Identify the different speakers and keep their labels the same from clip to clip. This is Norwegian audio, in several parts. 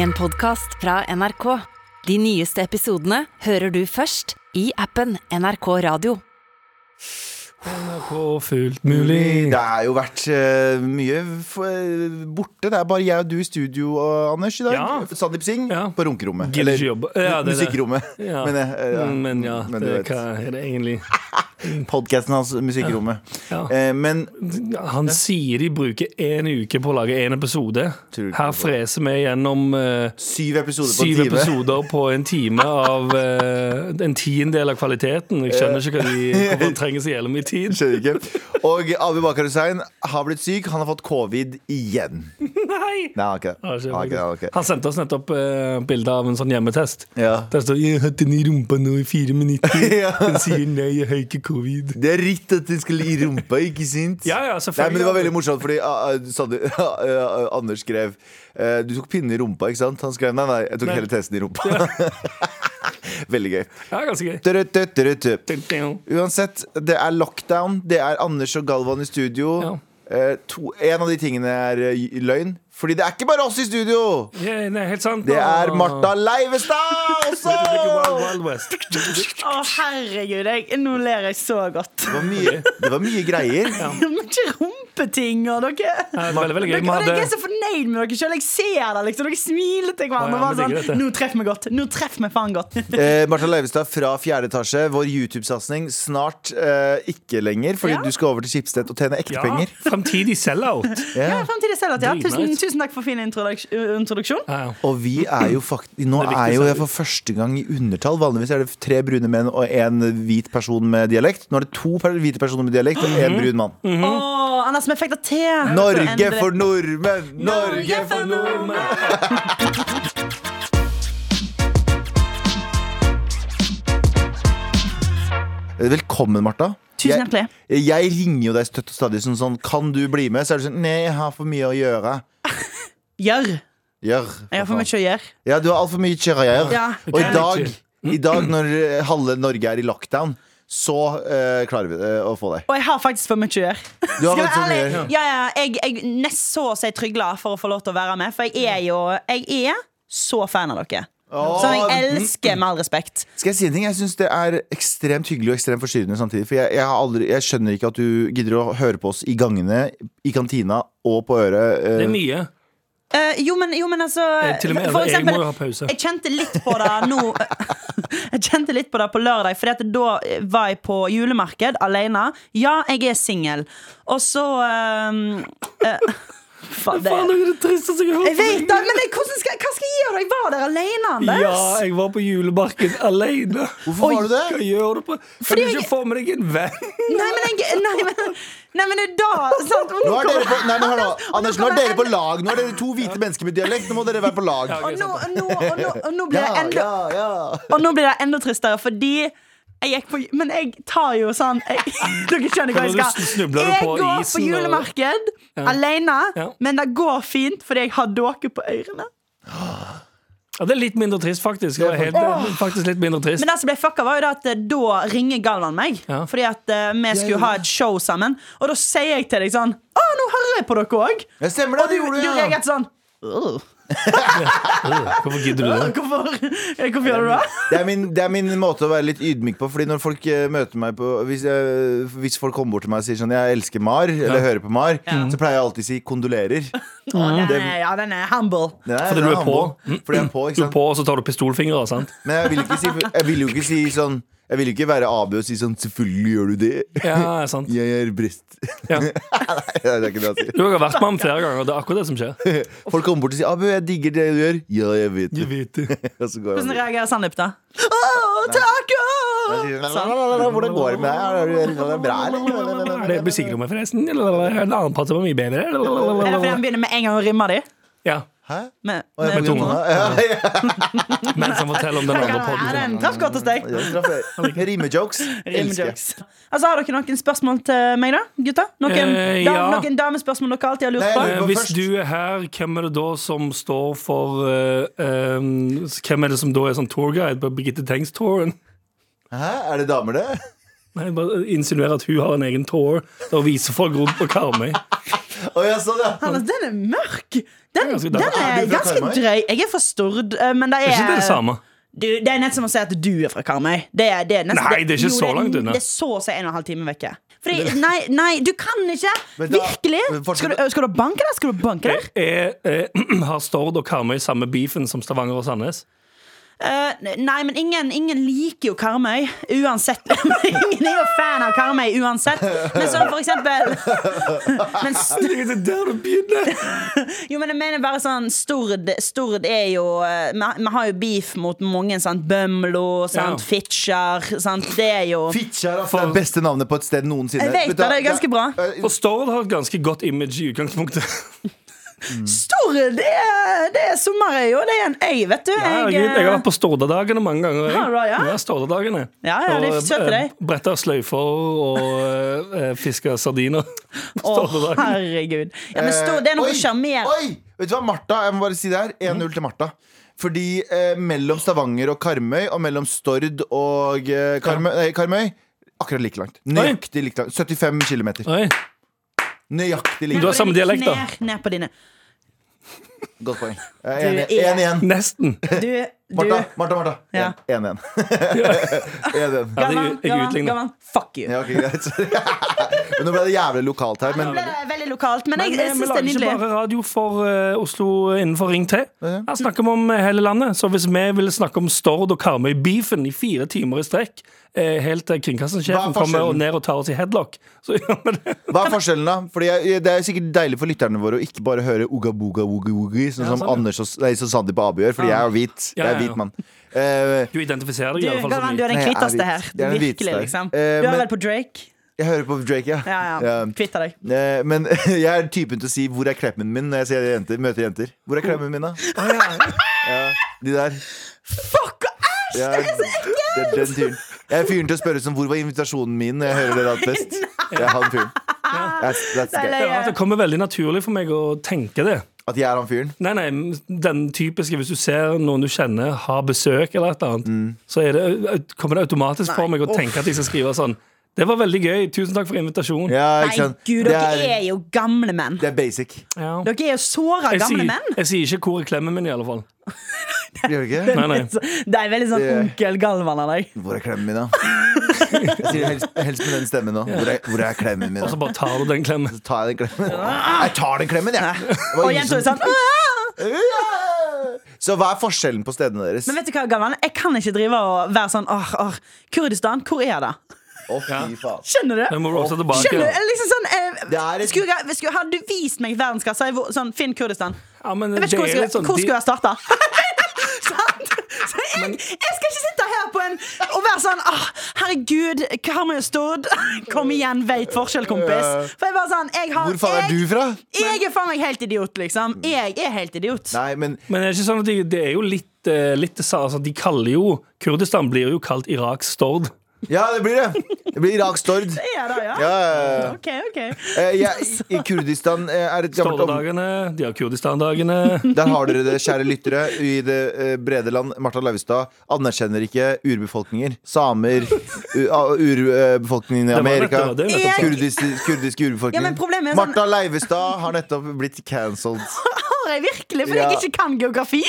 Speaker 1: En podcast fra NRK. De nyeste episodene hører du først i appen NRK Radio.
Speaker 2: Og fullt mulig.
Speaker 3: Det har jo vært eh, mye f eh, borte. Det er bare jeg og du i studio, eh, Anders, i dag.
Speaker 2: Ja.
Speaker 3: Sandeep Singh
Speaker 2: Ja.
Speaker 3: på runkerommet.
Speaker 2: Gidder ikke jobbe. Ja, det er det.
Speaker 3: musikkrommet.
Speaker 2: Ja. Mm,
Speaker 3: Men, eh, ja.
Speaker 2: Men ja,
Speaker 3: Men du
Speaker 2: det,
Speaker 3: vet.
Speaker 2: hva er det egentlig?
Speaker 3: Podcasten hans, Musikkrommet.
Speaker 2: Ja.
Speaker 3: Eh, men
Speaker 2: Han sier de bruker én uke på å lage én episode.
Speaker 3: Tror ikke
Speaker 2: Her
Speaker 3: på
Speaker 2: freser vi gjennom eh,
Speaker 3: syv episoder på
Speaker 2: syv
Speaker 3: en time.
Speaker 2: episoder på en time av eh, en tiendedel av kvaliteten. Jeg skjønner ikke hva de, hvorfor han trenger så jævlig mye tid.
Speaker 3: Skjønner ikke. Og Abu Bakar Hussein har blitt syk. Han har fått covid igjen. Nei,
Speaker 2: Nei!
Speaker 3: han har ikke det.
Speaker 2: Han,
Speaker 3: Han har ikke det, han har ikke det.
Speaker 2: han sendte oss nettopp uh, bilde av en sånn hjemmetest.
Speaker 3: Ja.
Speaker 2: Der står 'Jeg har hatt den i rumpa nå i fire minutter'.
Speaker 3: Ja.
Speaker 2: Den sier 'nei, jeg har ikke covid'.
Speaker 3: Det er rett at den skulle i rumpa, ikke sant?
Speaker 2: Ja, ja,
Speaker 3: Nei,
Speaker 2: selvfølgelig.
Speaker 3: men Det var veldig morsomt, fordi ah, ah, Sander, ah, ah, Anders skrev eh, Du tok pinnen i rumpa, ikke sant? Han skrev nei, nei, jeg tok
Speaker 2: Nei.
Speaker 3: hele testen i rumpa. veldig gøy.
Speaker 2: Ja, ganske gøy.
Speaker 3: Tørre, tørre, tørre, tørre.
Speaker 2: Dun-dun.
Speaker 3: Uansett, det er lockdown. Det er Anders og Galvan i studio.
Speaker 2: Ja.
Speaker 3: Eh, to, en av de tingene er eh, løgn. Fordi det er ikke bare oss i studio!
Speaker 2: Ja, nei, helt sant.
Speaker 3: Det er
Speaker 2: Og-
Speaker 3: Martha Leivestad også!
Speaker 2: Det blir ikke Wild
Speaker 3: Det
Speaker 2: Wild West.
Speaker 4: Å, herregud. Jeg, nå ler jeg så godt.
Speaker 3: var mye, det var mye greier.
Speaker 4: Men ikke rumpetinger, dere.
Speaker 2: Ja, det er veldig, veldig gøy.
Speaker 4: Dere,
Speaker 2: Vi
Speaker 4: og dere er
Speaker 2: hadde,
Speaker 4: så fornøyd med dere sjøl. Jeg ser det, liksom. Dere smiler til
Speaker 2: Å,
Speaker 4: hverandre.
Speaker 2: ja,
Speaker 4: og
Speaker 2: men
Speaker 4: bare
Speaker 2: det er greit, det.
Speaker 4: sånn, nå treffer vi godt. Nå treffer vi faen godt.
Speaker 3: Eh, Martha Leivestad fra 4. etasje, vår YouTube-satsing. Snart eh, ikke lenger, fordi
Speaker 4: Ja.
Speaker 3: du skal over til Schibsted og tjene ekte
Speaker 2: ja,
Speaker 3: penger.
Speaker 2: fremtidig sell-out.
Speaker 3: Ja.
Speaker 4: Ja, fremtidig selv at ja.
Speaker 2: Dritnice.
Speaker 4: tusen, tusen takk for fin introduks- uh, introduksjon.
Speaker 2: Ja, ja.
Speaker 3: Og vi er jo faktisk Nå
Speaker 2: Det er viktig,
Speaker 3: er jo
Speaker 2: så-
Speaker 3: jeg for første gang i undertall. Vanligvis er det tre brune menn og én hvit person med dialekt. Nå er det to per- hvite personer med dialekt og
Speaker 2: Mhm.
Speaker 3: én brun mann.
Speaker 4: Å, Anders, vi fikk det til.
Speaker 3: Norge
Speaker 4: Endelig.
Speaker 3: for nordmenn! Norge for Velkommen, Martha.
Speaker 4: Tusen hjertelig.
Speaker 3: Jeg, jeg ringer jo deg støtt og stadig sånn, sånn Kan du bli med? Så er du sånn Nei, jeg har for mye å gjøre.
Speaker 4: Gjør.
Speaker 3: Gjør.
Speaker 4: Jeg har for mye å gjøre.
Speaker 3: Ja, du har altfor mye kjører.
Speaker 4: Ja.
Speaker 3: Og i
Speaker 2: Kan
Speaker 3: dag,
Speaker 2: ikke.
Speaker 3: i dag, når eh, halve Norge er i lockdown, så eh, klarer vi eh, å få deg.
Speaker 4: Og jeg har faktisk for mye å gjøre.
Speaker 3: Du har vært
Speaker 4: Skal
Speaker 3: så
Speaker 4: jeg være
Speaker 3: mye-
Speaker 4: ærlig? Ja, ja, jeg, jeg nest så å si trygla for å få lov til å være med, for jeg er jo Jeg er så fan av dere.
Speaker 3: Åh,
Speaker 4: Som jeg
Speaker 3: mm.
Speaker 4: elsker, med all respekt.
Speaker 3: Skal jeg si en ting? Jeg syns det er ekstremt hyggelig og ekstremt forstyrrende samtidig. For jeg, jeg, har aldri, jeg skjønner ikke at du gidder å høre på oss i gangene, i kantina og på øret. eh,
Speaker 2: Det er mye.
Speaker 4: Eh, jo, men, jo, men altså
Speaker 2: Eh, til og med,
Speaker 4: for
Speaker 2: jeg
Speaker 4: eksempel-
Speaker 2: må jo ha pause.
Speaker 4: Jeg kjente litt på det nå Jeg kjente litt på det på lørdag, Fordi at da eh, var jeg på julemarked alene. Ja, jeg er singel. Og så um, Faen, det
Speaker 2: Faen, det er det tristeste jeg har
Speaker 4: Jeg
Speaker 2: hørt.
Speaker 4: vet det, men jeg, hvordan skal, hva skal jeg gjøre? Jeg var der alene, Anders.
Speaker 2: Ja, jeg var på julemarked alene.
Speaker 3: Hvorfor var du det?
Speaker 2: Hva gjør du på? Kan du
Speaker 4: Fordi jeg-
Speaker 2: ikke få med deg en venn?
Speaker 4: Nei, men jeg Nei, men, nei, men det er da sant? Og
Speaker 3: Nå er dere på, nei, men hør nå, Anders, nå er
Speaker 4: kommer
Speaker 3: dere på
Speaker 4: en-
Speaker 3: lag. Nå er dere to hvite mennesker med dialekt. Nå må dere være på lag.
Speaker 2: Ja,
Speaker 4: Og nå, og nå, og nå, og nå blir
Speaker 3: Ja,
Speaker 4: det enda
Speaker 3: ja, ja.
Speaker 4: Og nå blir det enda tristere fordi jeg gikk på, men jeg tar jo sånn jeg, Dere skjønner hva jeg
Speaker 2: Nå
Speaker 4: skal.
Speaker 2: snubler du
Speaker 4: Jeg
Speaker 2: på
Speaker 4: går på
Speaker 2: isen, og-
Speaker 4: julemarked alene,
Speaker 2: Ja.
Speaker 4: men det går fint fordi jeg har dere på ørene.
Speaker 2: Ja, det er litt mindre trist, faktisk. Det var helt, faktisk litt mindre trist.
Speaker 4: Men det som ble fucka, var jo det at eh, da ringer Galvan meg.
Speaker 2: Ja.
Speaker 4: Fordi at eh, vi skulle ha et show sammen. Og da sier jeg til deg sånn Å, nå hører jeg på dere òg!
Speaker 3: Ja, stemmer det.
Speaker 4: Og du,
Speaker 3: Det gjorde
Speaker 4: du
Speaker 3: du, ja.
Speaker 4: reagerte sånn «Åh,
Speaker 2: Øh, Hvorfor gidder du det?
Speaker 4: Hvorfor, hvorfor gjør du det?
Speaker 3: Det er, min, det er min måte å være litt ydmyk på. Fordi når folk eh, møter meg på hvis, jeg, hvis folk kommer bort til meg og sier sånn 'Jeg elsker Mar', eller 'hører på Mar', så pleier jeg alltid å si 'kondolerer'.
Speaker 4: Å, den er, ja, den er humble.
Speaker 3: Det er-
Speaker 2: Fordi
Speaker 3: det
Speaker 2: du er
Speaker 3: han
Speaker 2: på.
Speaker 3: Fordi jeg er på,
Speaker 2: Du
Speaker 3: ikke
Speaker 2: er
Speaker 3: sant?
Speaker 2: på, og så tar du pistolfingre. sant?
Speaker 3: Men jeg vil, ikke si, jeg vil jo ikke si sånn Jeg vil jo ikke være Abu og si sånn 'Selvfølgelig gjør du det'.
Speaker 2: Ja, sant.
Speaker 3: Jeg er brist.
Speaker 2: Ja.
Speaker 3: Nei, det er ikke det jeg sier.
Speaker 2: Du har vært med ham flere ganger, og det er akkurat det som skjer.
Speaker 3: Folk kommer bort og sier 'Abu, jeg digger det du gjør'. Ja, jeg vet det.
Speaker 2: vet det.
Speaker 3: Og så går jeg
Speaker 4: Hvordan
Speaker 3: videre.
Speaker 4: reagerer Sandeep, da? Å, taco!
Speaker 3: Jeg sier, «La, la, la, la, la, Hvordan går det med deg? Er det- Er det bra,
Speaker 2: Er
Speaker 3: eller?
Speaker 2: det musikkrom her, forresten? Eller er det en annen part som er mye
Speaker 4: Er det fordi
Speaker 2: bedre?
Speaker 4: han begynner med en gang å rimme de?
Speaker 2: Ja,
Speaker 3: Hæ?
Speaker 4: Med,
Speaker 3: Å, jeg
Speaker 4: med
Speaker 3: begynner
Speaker 2: tunga.
Speaker 3: nå. Ja, ja.
Speaker 2: Mens han forteller om den andre
Speaker 4: Er det
Speaker 2: podden.
Speaker 4: en traff godt hos deg?
Speaker 3: Ja, straff- Rimejokes. Elsker.
Speaker 4: Rimejokes. Altså, har dere noen spørsmål til meg, da? Gutta? Noen,
Speaker 2: Eh,
Speaker 4: dam,
Speaker 2: ja.
Speaker 4: noen damespørsmål dere alltid har lurt
Speaker 3: Nei,
Speaker 4: på?
Speaker 3: nei.
Speaker 2: Eh, Hvis du er her, hvem er det da som står for eh, eh, Hvem er det som da er sånn tourguide på Birgitte Tengs-touren?
Speaker 3: Hæ, er det damer, det?
Speaker 2: Nei, bare insinuere at hun har en egen tour der hun viser folk rundt på Karmøy.
Speaker 3: Å, ja, sånn, ja.
Speaker 4: Anders, den er mørk! Den,
Speaker 2: ganske
Speaker 4: den
Speaker 2: deilig.
Speaker 4: er
Speaker 3: Er du fra
Speaker 4: ganske
Speaker 3: Karmøy?
Speaker 4: drøy. Jeg er fra Stord, eh, men det er
Speaker 2: Det er ikke det det samme.
Speaker 4: Du, det er nesten som å si at du er fra Karmøy. Det er, det er nesten,
Speaker 2: Nei, det er ikke så langt unna.
Speaker 4: Det er så å si en og en halv time vekke. Fordi, nei, nei, du kan ikke!
Speaker 3: Men da-
Speaker 4: Virkelig!
Speaker 3: men fortsatt-
Speaker 4: Skal du, skal du banke der? Skal du banke der?
Speaker 2: Er, er, har Stord og Karmøy samme beefen som Stavanger og Sandnes?
Speaker 4: Eh, nei, men ingen, ingen liker jo Karmøy uansett. ingen er jo fan av Karmøy uansett. Men sånn for eksempel men, st-
Speaker 2: Det er der du begynner!
Speaker 4: Jo, men jeg mener bare sånn Stord, Stord er jo eh, Vi har- vi har jo beef mot mange. Sant? Bømlo, sant?
Speaker 2: Ja.
Speaker 4: Fitjar. Sant? Det er jo
Speaker 3: Fitjar ass, det er det altså. beste navnet på et sted noensinne.
Speaker 4: Jeg vet
Speaker 3: Vet du hva,
Speaker 4: det, det er ganske bra.
Speaker 3: Eh,
Speaker 2: Og Stord har et ganske godt image i utgangspunktet.
Speaker 4: Stord! Det er, det er sommerøy, og det er en øy, vet du.
Speaker 2: Herregud,
Speaker 4: eh,
Speaker 2: jeg har vært på Stordadagene mange ganger. jeg.
Speaker 4: Har du det, ja?
Speaker 2: Stordadagene.
Speaker 4: Ja, ja, de
Speaker 2: Og,
Speaker 4: kjøpte
Speaker 2: eh,
Speaker 4: deg.
Speaker 2: Bretta sløyfer og eh, fiska sardiner. På
Speaker 4: eh, Å,
Speaker 2: Stordadagene.
Speaker 4: herregud. Ja, men Stord, det
Speaker 3: Eh,
Speaker 4: er
Speaker 2: Eh,
Speaker 3: Oi,
Speaker 4: noe sjarmerende.
Speaker 3: Oi! Vet du hva, Martha, jeg må bare si det her.
Speaker 2: Mhm.
Speaker 3: 1-0 til Martha. Fordi eh, mellom Stavanger og Karmøy, og mellom Stord og eh, Karmøy, nei, Karmøy Akkurat like langt. Nøyaktig like langt. 75 km.
Speaker 2: Oi. Du
Speaker 3: Nøyaktig like
Speaker 2: har
Speaker 3: langt.
Speaker 2: samme dialekt, da.
Speaker 4: Ned, ned på dine.
Speaker 3: Godt poeng. Jeg er
Speaker 4: Du
Speaker 3: enig.
Speaker 4: er-
Speaker 3: Én igjen.
Speaker 2: Nesten.
Speaker 4: Du, du
Speaker 3: Martha, Martha. Martha.
Speaker 4: Ja.
Speaker 3: Én igjen. Én igjen.
Speaker 2: Ja, det, jeg utligner.
Speaker 4: Fuck you.
Speaker 3: Ja, ok, greit. Men nå ble det jævlig lokalt her.
Speaker 4: Nå
Speaker 3: Men
Speaker 4: ble det veldig lokalt, men,
Speaker 2: Men eh,
Speaker 4: jeg, jeg
Speaker 2: vi
Speaker 4: syns det er
Speaker 2: lager ikke
Speaker 4: nydelig.
Speaker 2: bare radio for eh, Oslo innenfor Ring 3. Her snakker vi om eh, hele landet. Så hvis vi vil snakke om Stord og Karmøy-beefen i fire timer i strekk, eh, helt til
Speaker 3: Hva er
Speaker 2: kringkastingssjefen
Speaker 3: forskjellen?
Speaker 2: kommer og ned og tar oss i headlock, så gjør vi det.
Speaker 3: Hva er forskjellen, da? Fordi jeg, Det er sikkert deilig for lytterne våre å ikke bare høre Uga Buga Woogie Woogie, sånn som
Speaker 2: sant, ja.
Speaker 3: Anders og nei, som Sandeep og Abu gjør, fordi jeg er jo hvit.
Speaker 2: Ja,
Speaker 3: Jeg er
Speaker 2: ja, ja.
Speaker 3: hvit mann. Eh,
Speaker 2: Du identifiserer deg
Speaker 4: Du,
Speaker 2: i hvert fall
Speaker 4: Galvan,
Speaker 2: som
Speaker 4: du er den
Speaker 3: Nei, jeg er hvit.
Speaker 4: kvitteste her.
Speaker 3: Jeg er den
Speaker 4: Virkelig,
Speaker 3: hviteste her.
Speaker 4: liksom. Du
Speaker 3: Eh,
Speaker 4: er
Speaker 3: men-
Speaker 4: vel på Drake?
Speaker 3: jeg hører på Drake, ja.
Speaker 4: Ja, ja.
Speaker 3: Eh,
Speaker 4: Kvitt deg.
Speaker 3: eh, men jeg er typen til å si 'hvor er klemmen min?' når jeg sier jenter, møter jenter. Hvor er klemmen min, da? Ja, de der.
Speaker 4: Fuck ass!
Speaker 3: Ja, det er den tyren. Jeg er fyren til å spørre som 'hvor var invitasjonen min?' når jeg hører dere hatt fest. Jeg er han fyren. That's, that's
Speaker 4: Nei,
Speaker 3: gay.
Speaker 4: nei.
Speaker 2: Ja, at det kommer veldig naturlig for meg å tenke det.
Speaker 3: At jeg er han fyren.
Speaker 2: Nei, nei, Den typiske hvis du ser noen du kjenner har besøk, eller et eller annet, så er det, kommer det automatisk for meg å tenke at jeg skal skrive sånn Det var veldig gøy. Tusen takk for invitasjonen.
Speaker 3: Ja, ikke
Speaker 4: Nei,
Speaker 3: sant?
Speaker 4: gud,
Speaker 3: Det
Speaker 4: dere
Speaker 3: er,
Speaker 4: er jo gamle menn.
Speaker 3: det er basic.
Speaker 2: Ja.
Speaker 4: Dere er jo såra
Speaker 2: Jeg,
Speaker 4: gamle
Speaker 2: sier,
Speaker 4: menn.
Speaker 2: jeg sier ikke hvor er klemmen min, i alle fall.
Speaker 3: Gjør du ikke?
Speaker 2: Nei, nei.
Speaker 4: Det er veldig sånn
Speaker 3: Det-
Speaker 4: onkel Galvan av deg.
Speaker 3: Hvor er klemmen min, da? Jeg sier helst, helst med den stemmen nå. Hvor er, hvor er klemmen min?
Speaker 2: Og så
Speaker 3: Da?
Speaker 2: Altså, bare tar du den klemmen.
Speaker 3: Så tar jeg den klemmen. Jeg tar den klemmen, jeg! Det var
Speaker 4: Og
Speaker 3: ingen
Speaker 4: jenter er
Speaker 3: som-
Speaker 4: sånn «Åh!»
Speaker 3: Så hva er forskjellen på stedene deres?
Speaker 4: Men vet du hva, Galvan? Jeg kan ikke drive og være sånn åh, åh, Kurdistan, hvor er det?
Speaker 3: Å, fy faen.
Speaker 4: Skjønner du?
Speaker 2: Den må du også tilbake.
Speaker 4: Skjønner du?
Speaker 2: da.
Speaker 4: Eller Liksom sånn,
Speaker 3: Det
Speaker 4: eh,
Speaker 3: er et-
Speaker 4: skulle, jeg- skulle, hadde du vist meg verdenskassa? jeg hvor- Sånn, Finn Kurdistan.
Speaker 2: Ja, men
Speaker 4: Jeg vet ikke hvor,
Speaker 2: det
Speaker 4: jeg
Speaker 2: er litt sånn-
Speaker 4: skulle, hvor
Speaker 2: de-
Speaker 4: skulle jeg starta. Sant? Så jeg, jeg skal ikke sitte her på en og være sånn ah, Herregud, Karmøy og Stord. Kom igjen, veit forskjell, kompis. For jeg bare sånn, jeg har
Speaker 3: Hvor faen er du
Speaker 4: jeg,
Speaker 3: fra?
Speaker 4: jeg er faen meg helt idiot, liksom. Jeg er helt idiot.
Speaker 3: Nei, men
Speaker 2: Men det er ikke sånn at de, det er jo litt, eh, litt det sa- altså, De kaller jo Kurdistan blir jo kalt Iraks Stord.
Speaker 3: Ja, det blir det. Det blir Irak Stord.
Speaker 4: Jeg er det, ja.
Speaker 3: Ja, ja, ja.
Speaker 4: OK, OK.
Speaker 3: Eh, jeg, I Kurdistan eh, er et gammelt område.
Speaker 2: Stordadagene, de har Kurdistan-dagene.
Speaker 3: Der har dere det, kjære lyttere. I det eh, brede land, Martha Lauvstad anerkjenner ikke urbefolkninger. Samer, urbefolkningen i
Speaker 2: Det var
Speaker 3: Amerika,
Speaker 2: nettopp- det er
Speaker 4: nettopp sant.
Speaker 3: kurdiske, kurdiske urbefolkningen.
Speaker 4: Ja, men problemet er sånn-
Speaker 3: Martha Leivestad har nettopp blitt cancelled.
Speaker 4: Har jeg virkelig? Fordi
Speaker 3: Ja.
Speaker 4: jeg ikke kan geografi?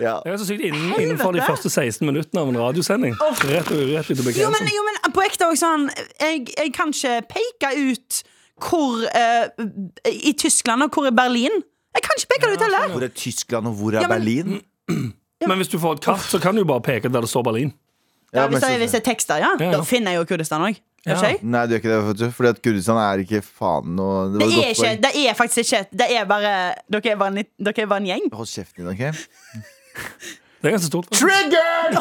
Speaker 3: Ja.
Speaker 2: Jeg er så sykt innen, innenfor de
Speaker 4: Helvete.
Speaker 2: første 16 minuttene av en radiosending. Rett og urett ut og
Speaker 4: Jo, men,
Speaker 2: begrenset.
Speaker 4: jo, men på ekte òg sånn jeg, jeg kan ikke peke ut hvor eh, i Tyskland og hvor i Berlin. Jeg kan ikke peke det ut heller.
Speaker 3: Hvor er Tyskland, og hvor er
Speaker 4: Ja, men-
Speaker 3: Berlin?
Speaker 2: Men hvis du får et kart, så kan du jo bare peke der det står Berlin.
Speaker 4: Ja, hvis,
Speaker 3: men
Speaker 4: det,
Speaker 3: så-
Speaker 4: hvis det er tekster, ja,
Speaker 2: Ja, ja.
Speaker 4: da finner jeg jo Kurdistan òg.
Speaker 2: Ja.
Speaker 3: Nei, du gjør ikke det, vet du, fordi at Kurdistan er ikke faen noe
Speaker 4: Det
Speaker 3: var et
Speaker 4: er,
Speaker 3: godt
Speaker 4: ikke,
Speaker 3: poeng.
Speaker 4: det er faktisk ikke et- Det er bare Dere er bare en, litt- dere er bare en gjeng.
Speaker 3: Hold kjeften din, OK?
Speaker 2: Det er ganske stort. faktisk.
Speaker 3: Triggered!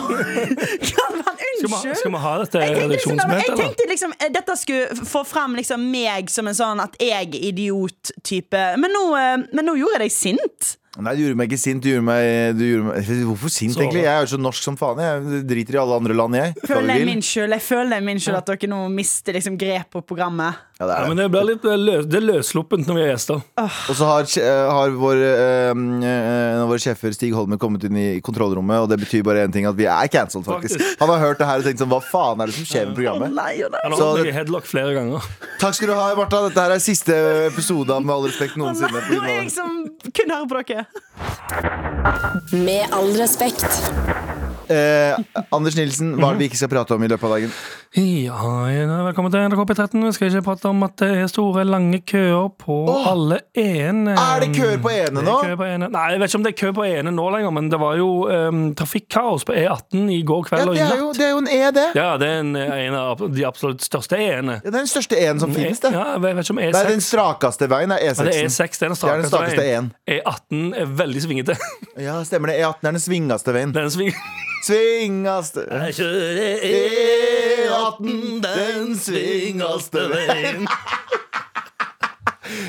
Speaker 4: Kan
Speaker 2: Skal vi,
Speaker 4: man
Speaker 2: ha- skal
Speaker 4: Unnskyld!
Speaker 2: vi ha dette
Speaker 4: Jeg tenkte, liksom, bare-
Speaker 2: redaksjonsmøtet,
Speaker 4: jeg
Speaker 2: eller?
Speaker 4: tenkte liksom eh, dette skulle f- få fram liksom meg som en sånn at jeg er idiot-type. Men, nå, eh, men nå gjorde jeg deg sint.
Speaker 3: Nei, du gjorde meg ikke sint. Du gjorde meg, du gjorde meg Hvorfor sint,
Speaker 2: Så-
Speaker 3: egentlig? Jeg er jo så norsk som faen. Jeg driter i alle andre land, jeg. Hva
Speaker 4: Føler
Speaker 3: vi
Speaker 4: jeg
Speaker 3: vil.
Speaker 4: min skyld. Jeg føler det er min skyld at dere nå mister liksom grep på programmet.
Speaker 3: Ja, det
Speaker 2: Ja,
Speaker 3: er
Speaker 2: men det
Speaker 3: det.
Speaker 2: blir litt eh, løs, det er løssluppent når vi er gjester.
Speaker 3: Og så har, eh, har vår, eh, eh, en av våre sjefer Stig Holmen kommet inn i kontrollrommet, og det betyr bare én ting, at vi er cancelled, faktisk.
Speaker 2: Faktisk.
Speaker 3: Han har hørt det her og tenkt sånn, hva faen er det som skjer med programmet?
Speaker 4: Nei, å nei.
Speaker 2: Han har
Speaker 3: Så
Speaker 2: holdt
Speaker 3: det-
Speaker 2: meg i headlock flere ganger.
Speaker 3: Takk skal du ha, Martha. Dette her er siste episode av Med all respekt
Speaker 4: Å nei,
Speaker 3: noensinne. på
Speaker 4: sånn-
Speaker 3: grunn
Speaker 4: Nå er
Speaker 3: av
Speaker 4: jeg
Speaker 3: det.
Speaker 4: som Kun hør på dere.
Speaker 5: Med all respekt.
Speaker 3: Eh, Anders Nilsen, hva er det vi ikke skal prate om i løpet av dagen?
Speaker 2: Ja, velkommen til NRK P13. Vi skal ikke prate om at det er store, lange køer på alle ene.
Speaker 3: Er det køer på ene
Speaker 2: Mm. Det er
Speaker 3: nå?
Speaker 2: køer på ene. Nei, jeg vet ikke om det er kø på ene nå lenger, men det var jo um, trafikkaos på E18 i går
Speaker 3: Ja,
Speaker 2: kveld og
Speaker 3: det,
Speaker 2: i
Speaker 3: er
Speaker 2: natt.
Speaker 3: jo, det er jo en E, det.
Speaker 2: Ja, det er en, eh, en av de absolutt største E-ene.
Speaker 3: Ja, det er den største E-en som finnes, det.
Speaker 2: Mm, Ja, jeg vet ikke om E
Speaker 3: Nei, den
Speaker 2: E6.
Speaker 3: strakeste veien er
Speaker 2: Ja, det er
Speaker 3: E6.
Speaker 2: E6, det er den
Speaker 3: Det er den
Speaker 2: strakeste E
Speaker 3: strakeste
Speaker 2: veien. E18 er veldig svingete.
Speaker 3: Ja, stemmer det. E18 er den svingeste veien.
Speaker 2: Den sving...
Speaker 3: Svingaste
Speaker 2: Jeg kjører
Speaker 3: E18, E den svingeste
Speaker 2: veien.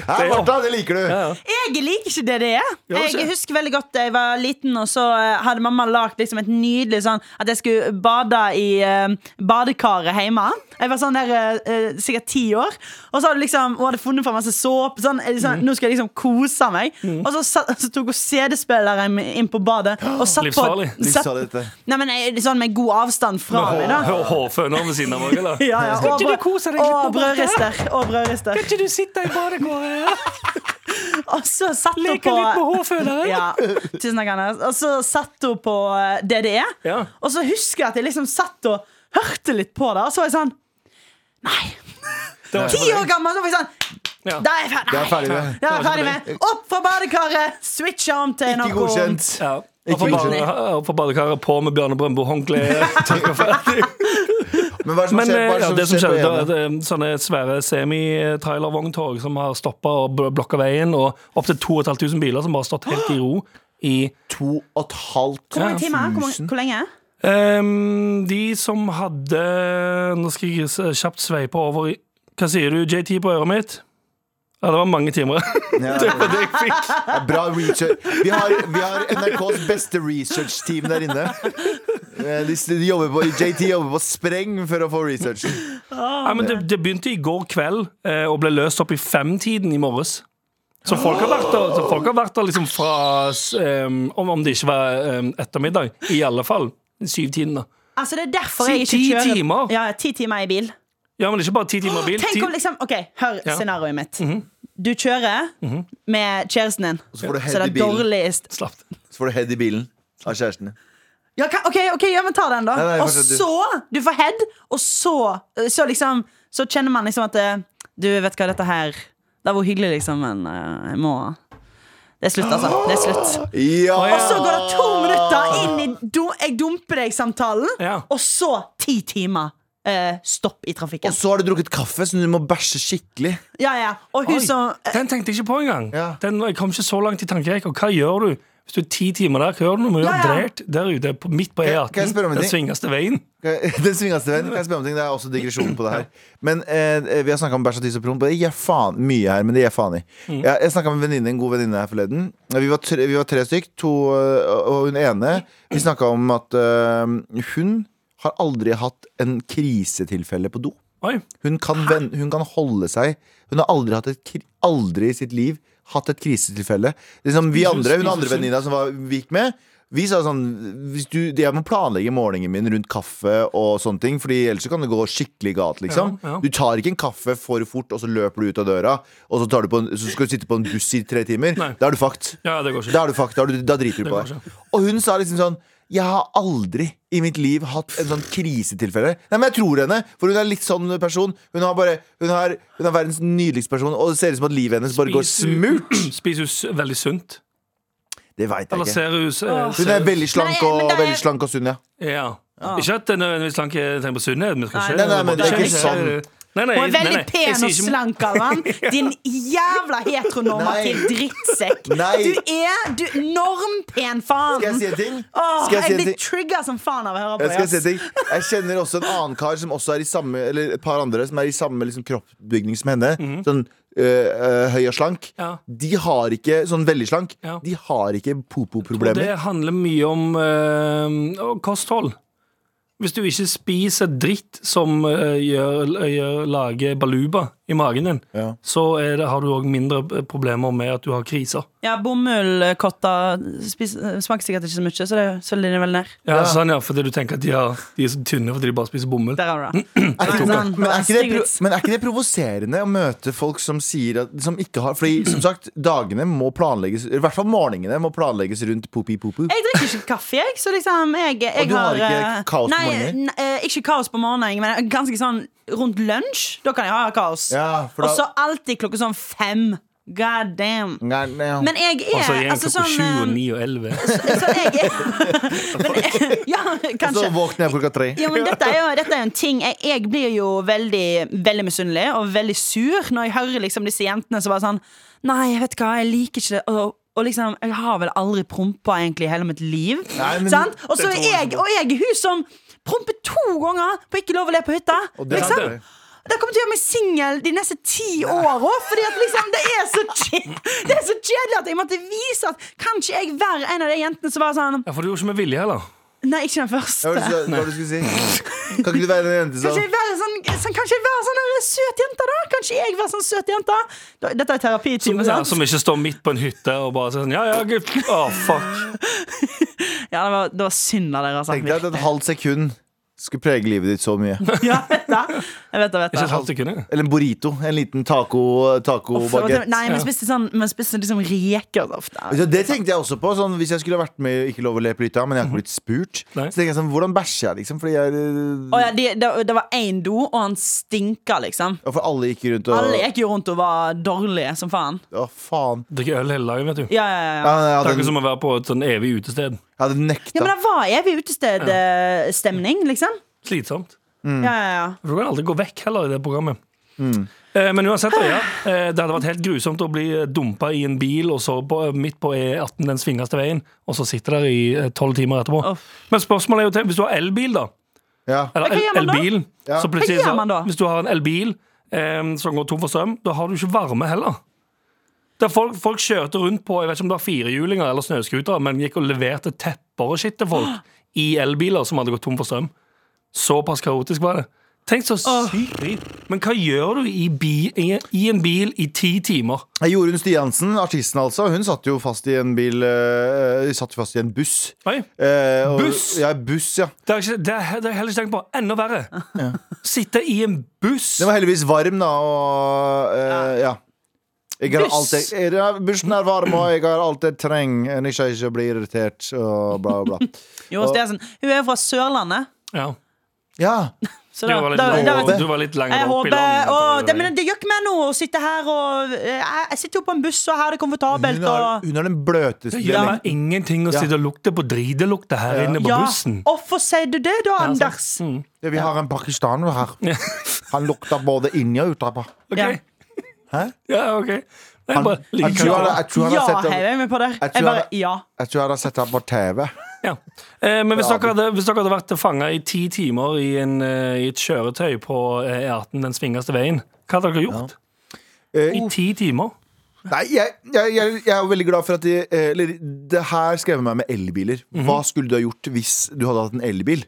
Speaker 3: Her, Martha, det liker du.
Speaker 4: Jeg liker ikke det det er.
Speaker 2: Jo, ikke.
Speaker 4: Jeg husker veldig godt da jeg var liten, og så eh, hadde mamma lagd liksom et nydelig sånn at jeg skulle bade i eh, badekaret hjemme. Jeg var sånn der eh, eh, sikkert ti år. Og så hadde liksom, hun hadde funnet fram masse såpe. Sånn, eh,
Speaker 2: Mm.
Speaker 4: sånn, Nå skal jeg liksom kose meg. Og så, satt, så tok hun CD-spilleren min inn på badet og satt på
Speaker 2: Livsfarlig.
Speaker 4: satt-
Speaker 3: Livsfarlig, dette.
Speaker 4: Nei, men jeg, sånn med god avstand fra meg, da.
Speaker 2: Hårføner ved siden av òg, eller?
Speaker 4: Ja, ja,
Speaker 2: Skal
Speaker 4: og
Speaker 2: ikke du
Speaker 4: brød-
Speaker 2: kose deg litt
Speaker 4: og
Speaker 2: på badet?
Speaker 4: brødrister. Og brødrister.
Speaker 2: Kan ikke du sitte i badekaret?
Speaker 4: Og så satt hun
Speaker 2: Leke
Speaker 4: på
Speaker 2: litt med hårføneren?
Speaker 4: ja, Tusen takk, Anders. Og så satt hun på eh, DDE.
Speaker 2: Ja.
Speaker 4: Og så husker jeg at jeg liksom satt og hørte litt på det, og så var jeg sånn Nei.
Speaker 2: var
Speaker 4: Ti år gammel, så var jeg sånn
Speaker 2: Ja.
Speaker 4: Da er jeg ferdig.
Speaker 3: Det er ferdig
Speaker 4: Nei.
Speaker 3: med.
Speaker 4: Da er jeg ferdig med. Opp fra badekaret, switche om til
Speaker 3: Ikke
Speaker 4: noe
Speaker 3: godkjent.
Speaker 2: Ja.
Speaker 3: Ikke
Speaker 2: Opp på
Speaker 3: godkjent.
Speaker 2: bade- opp på badekaret, på med Bjarne Brøndbo håndkle. Takk og ferdig.
Speaker 3: Men hva er det som
Speaker 2: Men
Speaker 3: skjer,
Speaker 2: eh,
Speaker 3: hva er
Speaker 2: ja, det
Speaker 3: det
Speaker 2: som
Speaker 3: som skjer
Speaker 2: skjedde,
Speaker 3: på
Speaker 2: da,
Speaker 3: ene?
Speaker 2: det, er sånne svære semi-trailer-vogntog som har stoppa og bl- blokka veien, og opptil 2500 biler som bare har stått helt i ro i
Speaker 3: To og et halvt
Speaker 4: Hvor mange timer? Hvor, mange- hvor lenge?
Speaker 2: Ehm, De som hadde Nå skal jeg s- kjapt sveipe over i Hva sier du, JT, på øret mitt? Ja, det var mange timer.
Speaker 3: Ja,
Speaker 2: Det var det jeg fikk.
Speaker 3: det er bra research. Vi har, vi har NRKs beste research-team der inne. Eh, De, de jobber på, JT jobber på spreng for å få researchen.
Speaker 2: Nei, men det, det begynte i går kveld eh, og ble løst opp i femtiden i morges. Så folk har vært der, så folk har vært der liksom fra s- em, om, om det ikke var em, ettermiddag. I alle fall. Syvtiden, da.
Speaker 4: Altså, det er derfor
Speaker 2: Si
Speaker 4: jeg ikke
Speaker 2: ti
Speaker 4: kjører
Speaker 2: timer.
Speaker 4: Ja, ti timer i bil.
Speaker 2: Ja, men ikke bare ti timer bil.
Speaker 4: Tenk
Speaker 2: Ti,
Speaker 4: om liksom Ok, hør
Speaker 2: Ja.
Speaker 4: scenarioet mitt. Du kjører med kjæresten din,
Speaker 3: Mhm. Så får du
Speaker 4: så
Speaker 3: head
Speaker 4: det
Speaker 3: i
Speaker 4: er
Speaker 3: bilen.
Speaker 4: dårligst
Speaker 2: slapp.
Speaker 3: Så får du head i bilen av kjæresten din.
Speaker 4: Ja, ka- ok, ok, ja, men ta den da
Speaker 3: Nei, nei,
Speaker 4: Og
Speaker 3: fortsett du.
Speaker 4: så, du får head Og så, så liksom Så kjenner man liksom at eh, Du vet hva dette her Det var hyggelig liksom, men eh, jeg må Det er slutt altså, det er slutt
Speaker 3: Ja!
Speaker 4: Og så går det to minutter inn i du- Jeg dumper deg-samtalen
Speaker 2: Ja.
Speaker 4: Og så ti timer eh, Stopp i trafikken
Speaker 3: Og så har du drukket kaffe, så du må bæsje skikkelig.
Speaker 4: Ja, ja, og hun
Speaker 2: Oi,
Speaker 4: som eh,
Speaker 2: Den tenkte jeg ikke på engang.
Speaker 3: Ja.
Speaker 2: Den, jeg kom ikke så langt i tankerekka. Hva gjør du hvis du er ti timer der? Hva gjør du når du
Speaker 4: Ja,
Speaker 2: er
Speaker 4: ja.
Speaker 2: drert der ute, på, midt på
Speaker 3: Kan- kan
Speaker 2: E18?
Speaker 3: jeg spørre om en
Speaker 2: Den
Speaker 3: ting?
Speaker 2: svingeste veien.
Speaker 3: Den svingeste veien. Kan jeg spørre om ting? Det er også digresjon på det her. Men eh, Vi har snakka om bæsj og tiss og promp, og det gir faen mye her. Men det gir faen i. Jeg, jeg snakka med en venninne, en god venninne her forleden. Vi var tre, vi var tre stykk, to eh, og hun ene. Vi snakka om at eh, hun har aldri hatt en krisetilfelle på do.
Speaker 2: Oi.
Speaker 3: Hun kan, ven, hun kan holde seg Hun har aldri, hatt et, kri- aldri i sitt liv hatt et krisetilfelle. Liksom vi andre, Hun andre venninna som var, vi gikk med, vi sa sånn hvis du, Jeg må planlegge morgenen min rundt kaffe og sånne ting, Fordi ellers så kan det gå skikkelig galt. liksom
Speaker 2: Ja, ja.
Speaker 3: Du tar ikke en kaffe for fort, og så løper du ut av døra, og så, tar du på en, så skal du sitte på en buss i tre timer.
Speaker 2: Nei.
Speaker 3: Da er du fucked.
Speaker 2: Ja, det går ikke.
Speaker 3: Da, er du fucked, da, er du, da driter du
Speaker 2: Det
Speaker 3: på
Speaker 2: går
Speaker 3: deg. Og hun sa liksom sånn Jeg har aldri i mitt liv hatt en sånn krisetilfelle. Nei, men jeg tror henne, for hun er litt sånn person. Hun, har bare, hun, har, hun er verdens nydeligste person, og det ser ut som at livet hennes bare går smurt.
Speaker 2: Spiser hun s- veldig sunt?
Speaker 3: Det veit
Speaker 2: Eller
Speaker 3: jeg ikke.
Speaker 2: ser hun s- eh,
Speaker 3: Hun er veldig slank
Speaker 4: Nei, men
Speaker 3: og,
Speaker 4: det er-
Speaker 3: veldig slank og sunn, ja.
Speaker 2: Ja. Ikke at det nødvendigvis langt tenker på sunnhet. Men skal ikke,
Speaker 4: Nei, Ah. nei,
Speaker 3: nei, men det er
Speaker 2: skal
Speaker 3: ikke sånn.
Speaker 2: Nei, nei,
Speaker 4: Hun er
Speaker 2: nei,
Speaker 4: veldig
Speaker 2: nei. Jeg
Speaker 4: pen
Speaker 2: sier
Speaker 4: og
Speaker 2: ikke-
Speaker 4: slank, Alvan. Din jævla heteronormativ
Speaker 3: Nei.
Speaker 4: drittsekk.
Speaker 3: Nei.
Speaker 4: Du er du, normpen, faen!
Speaker 3: Skal jeg si en ting?
Speaker 4: Åh,
Speaker 3: Skal jeg si en
Speaker 4: jeg blir
Speaker 3: ting?
Speaker 4: trigga som faen av å høre på
Speaker 3: Jeg, skal si en
Speaker 4: det. ass.
Speaker 3: ting. jeg kjenner også en annen kar som også er i samme Eller et par andre som er i samme liksom, kroppsbygning som henne. Sånn øh, øh, høy og slank.
Speaker 2: Mhm. Ja.
Speaker 3: De har ikke sånn veldig slank.
Speaker 2: Ja.
Speaker 3: De har ikke
Speaker 2: Og det
Speaker 3: popo-problemer.
Speaker 2: handler mye om eh, og kosthold. Hvis du ikke spiser dritt som eh, gjør, gjør, lager baluba i i magen din,
Speaker 3: Ja.
Speaker 2: så er det, har du òg mindre eh, problemer med at du har kriser.
Speaker 4: Ja, bomullkotter spis- smaker sikkert ikke så mye, så det svelger den vel ned.
Speaker 2: Ja, Sånn, ja, fordi du tenker at de, har, de er så tynne fordi de bare spiser bomull.
Speaker 4: Der har du det.
Speaker 3: Er ikke,
Speaker 4: Nei, sånn,
Speaker 3: men, er ikke det,
Speaker 4: stygg vits.
Speaker 3: pro- men er ikke det provoserende å møte folk som sier at Som ikke har Fordi som sagt, dagene må planlegges I hvert fall morgenene må planlegges rundt popi-popo.
Speaker 4: Jeg drikker ikke kaffe, jeg. Så liksom, jeg, jeg
Speaker 3: Og du har ikke
Speaker 4: eh,
Speaker 3: kaos på
Speaker 4: nei,
Speaker 3: morgenen?
Speaker 4: Nei, eh, ikke kaos på morgenen, men ganske sånn rundt lunsj. Da kan jeg ha kaos.
Speaker 3: Ja, for da-
Speaker 4: Og så alltid klokka sånn fem. God damn.
Speaker 3: Nei, nei, ja.
Speaker 4: Men jeg er
Speaker 2: Og så er en
Speaker 4: altså,
Speaker 2: klokka
Speaker 4: sånn,
Speaker 2: sju og
Speaker 4: eh,
Speaker 2: ni og elleve.
Speaker 4: sånn jeg er men, eh, Ja,
Speaker 3: Og så
Speaker 4: kanskje.
Speaker 3: våkner jeg klokka tre.
Speaker 4: Ja, men dette er jo dette er jo en ting Jeg, jeg blir jo veldig, veldig misunnelig og veldig sur når jeg hører liksom disse jentene som bare sånn Nei, vet du hva, jeg liker ikke det. Og, og liksom, jeg har vel aldri prompa egentlig i hele mitt liv.
Speaker 3: Nei, men
Speaker 4: sant? Og så
Speaker 2: det
Speaker 4: er
Speaker 2: tror jeg
Speaker 4: jeg,
Speaker 2: ikke på.
Speaker 4: og jeg er hun som promper to ganger på ikke lov å le på hytta.
Speaker 3: Og det er
Speaker 4: liksom.
Speaker 3: det.
Speaker 4: Det kommer til å gjøre meg singel de neste ti åra. Fordi at liksom, det er så kje- Det er så kjedelig at jeg måtte vise at kan ikke jeg være en av de jentene som var sånn
Speaker 2: Ja, for du gjorde ikke med vilje heller.
Speaker 4: Nei, ikke den
Speaker 3: Jeg
Speaker 4: første.
Speaker 3: hørte så- hva var det du skulle si. Kan ikke du være den jente som
Speaker 4: Kanskje jeg være sånn, sånn, kanskje jeg være sånn der søt jente, da? Kanskje jeg være sånn søt jente? Da- Dette er terapitime,
Speaker 2: Ja,
Speaker 4: sant?
Speaker 2: som ikke står midt på en hytte og bare sånn Ja, ja, gutt. Å, fuck.
Speaker 4: Ja, det var, det var synd av dere, altså.
Speaker 3: Tenk deg at et halvt sekund skulle prege livet ditt så mye.
Speaker 4: Ja, vet det. Jeg vet det, vet
Speaker 2: Ikke
Speaker 4: det.
Speaker 2: et halvt sekund. jeg.
Speaker 3: Eller en burrito. En liten taco tacobagett.
Speaker 4: Nei, men spiste sånn, men spiste liksom reker så ofte.
Speaker 3: Ja, det tenkte jeg også på. Sånn, hvis jeg skulle vært med i Ikke lov å le på hytta, men jeg har
Speaker 4: Mhm.
Speaker 3: ikke blitt spurt,
Speaker 2: Nei.
Speaker 3: så tenker jeg sånn Hvordan bæsjer jeg, liksom? Fordi jeg
Speaker 4: Å ja, det, det, det var én do, og han stinka, liksom.
Speaker 3: Ja, For alle gikk rundt og
Speaker 4: Alle gikk jo rundt og var dårlige som faen.
Speaker 3: Å, faen.
Speaker 2: Drikke øl hele dagen, vet du.
Speaker 4: Ja, ja, ja,
Speaker 3: Ja,
Speaker 4: ja.
Speaker 3: jeg
Speaker 2: Det er
Speaker 3: hadde,
Speaker 2: ikke som å være på et sånn evig utested.
Speaker 3: jeg hadde nekta.
Speaker 4: Ja, men det var evig utestedstemning, liksom.
Speaker 2: Slitsomt.
Speaker 4: Ja, ja, ja.
Speaker 2: For du kan aldri gå vekk heller i det programmet. Eh, men uansett, da, ja. Eh, det hadde vært helt grusomt å bli dumpa i en bil, og så på, eh, midt på E18 den svingeste veien, og så sitte der i eh, tolv timer etterpå.
Speaker 4: Uff.
Speaker 2: Men spørsmålet er jo til, hvis du har elbil, da.
Speaker 3: ja.
Speaker 2: Eller
Speaker 4: Hva
Speaker 2: el
Speaker 4: gjør man da?
Speaker 2: elbil.
Speaker 3: Ja.
Speaker 2: Så plutselig,
Speaker 4: Hva gjør
Speaker 2: så-
Speaker 4: man da?
Speaker 2: Hvis du har en elbil eh, som går tom for strøm, da har du ikke varme heller. Der folk, folk kjørte rundt på jeg vet ikke om det var firehjulinger eller snøskutere, men gikk og leverte tepper og shit til folk i elbiler som hadde gått tom for strøm. Såpass kaotisk var det. Tenk så sykt drit. Men hva gjør du i, bi, i, i en bil i ti timer?
Speaker 3: Jorunn Stiansen, artisten altså, hun satt jo fast i en bil øh, Satt fast i en buss.
Speaker 2: Nei,
Speaker 3: Eh, og-
Speaker 2: Buss?
Speaker 3: Ja, buss, ja.
Speaker 2: det har jeg ikke- det har jeg heller ikke tenkt på. Enda verre. Sitte i en buss.
Speaker 3: Den var heldigvis varm, da, og eh, ja. Jeg har
Speaker 4: Buss.
Speaker 3: alt jeg, jeg- ja, bussen er varm, og jeg har alt jeg trenger. En ikke ikke å bli irritert, og bla, bla.
Speaker 4: Jo, Stensen, hun er jo fra Sørlandet.
Speaker 2: Ja.
Speaker 3: Ja.
Speaker 4: Så
Speaker 2: Du
Speaker 4: da,
Speaker 2: var litt,
Speaker 4: da, da,
Speaker 2: lang-
Speaker 3: da-
Speaker 2: du var litt
Speaker 4: Jeg
Speaker 2: lenger opp i
Speaker 4: håper
Speaker 2: landet.
Speaker 4: å, det, men det gjør ikke meg noe å sitte her og eh, Jeg jeg sitter jo på en buss, og her er det komfortabelt.
Speaker 3: Hun har,
Speaker 4: Og,
Speaker 3: hun har den bløteste
Speaker 2: Det gjør
Speaker 3: dialekten.
Speaker 2: meg ingenting å
Speaker 3: Ja.
Speaker 2: sitte og lukte på dridelukta her
Speaker 3: Ja. Altså.
Speaker 2: inne på
Speaker 4: ja,
Speaker 2: bussen.
Speaker 4: hvorfor sier du det da,
Speaker 2: sant.
Speaker 4: Anders?
Speaker 3: Ja, vi har en pakistaner her.
Speaker 2: Ja.
Speaker 3: Han lukter både inni og utenpå.
Speaker 2: Ok.
Speaker 4: Ja.
Speaker 3: Hæ?
Speaker 2: Ja, ok. Det er
Speaker 3: Han,
Speaker 2: bare
Speaker 3: jeg,
Speaker 2: like
Speaker 3: tror han,
Speaker 2: kanskje.
Speaker 3: jeg, tror han
Speaker 4: Ja,
Speaker 3: har sett
Speaker 4: heier
Speaker 3: det,
Speaker 4: jeg meg på der.
Speaker 3: Jeg tror
Speaker 4: Jeg bare,
Speaker 3: jeg-
Speaker 4: ja.
Speaker 3: jeg tror han har sett det på TV.
Speaker 2: ja. eh, Men hvis
Speaker 3: Ja,
Speaker 2: dere, hadde, hvis dere hadde vært fanga i ti timer i, en, eh, i et kjøretøy på eh, E18 den svingeste veien, hva hadde dere gjort?
Speaker 3: Eh,
Speaker 2: I ti timer?
Speaker 3: Nei, jeg, jeg, jeg, jeg er veldig glad for at de, eh, eller, Det her skrev meg med elbiler. Hva skulle du ha gjort hvis du hadde hatt en elbil?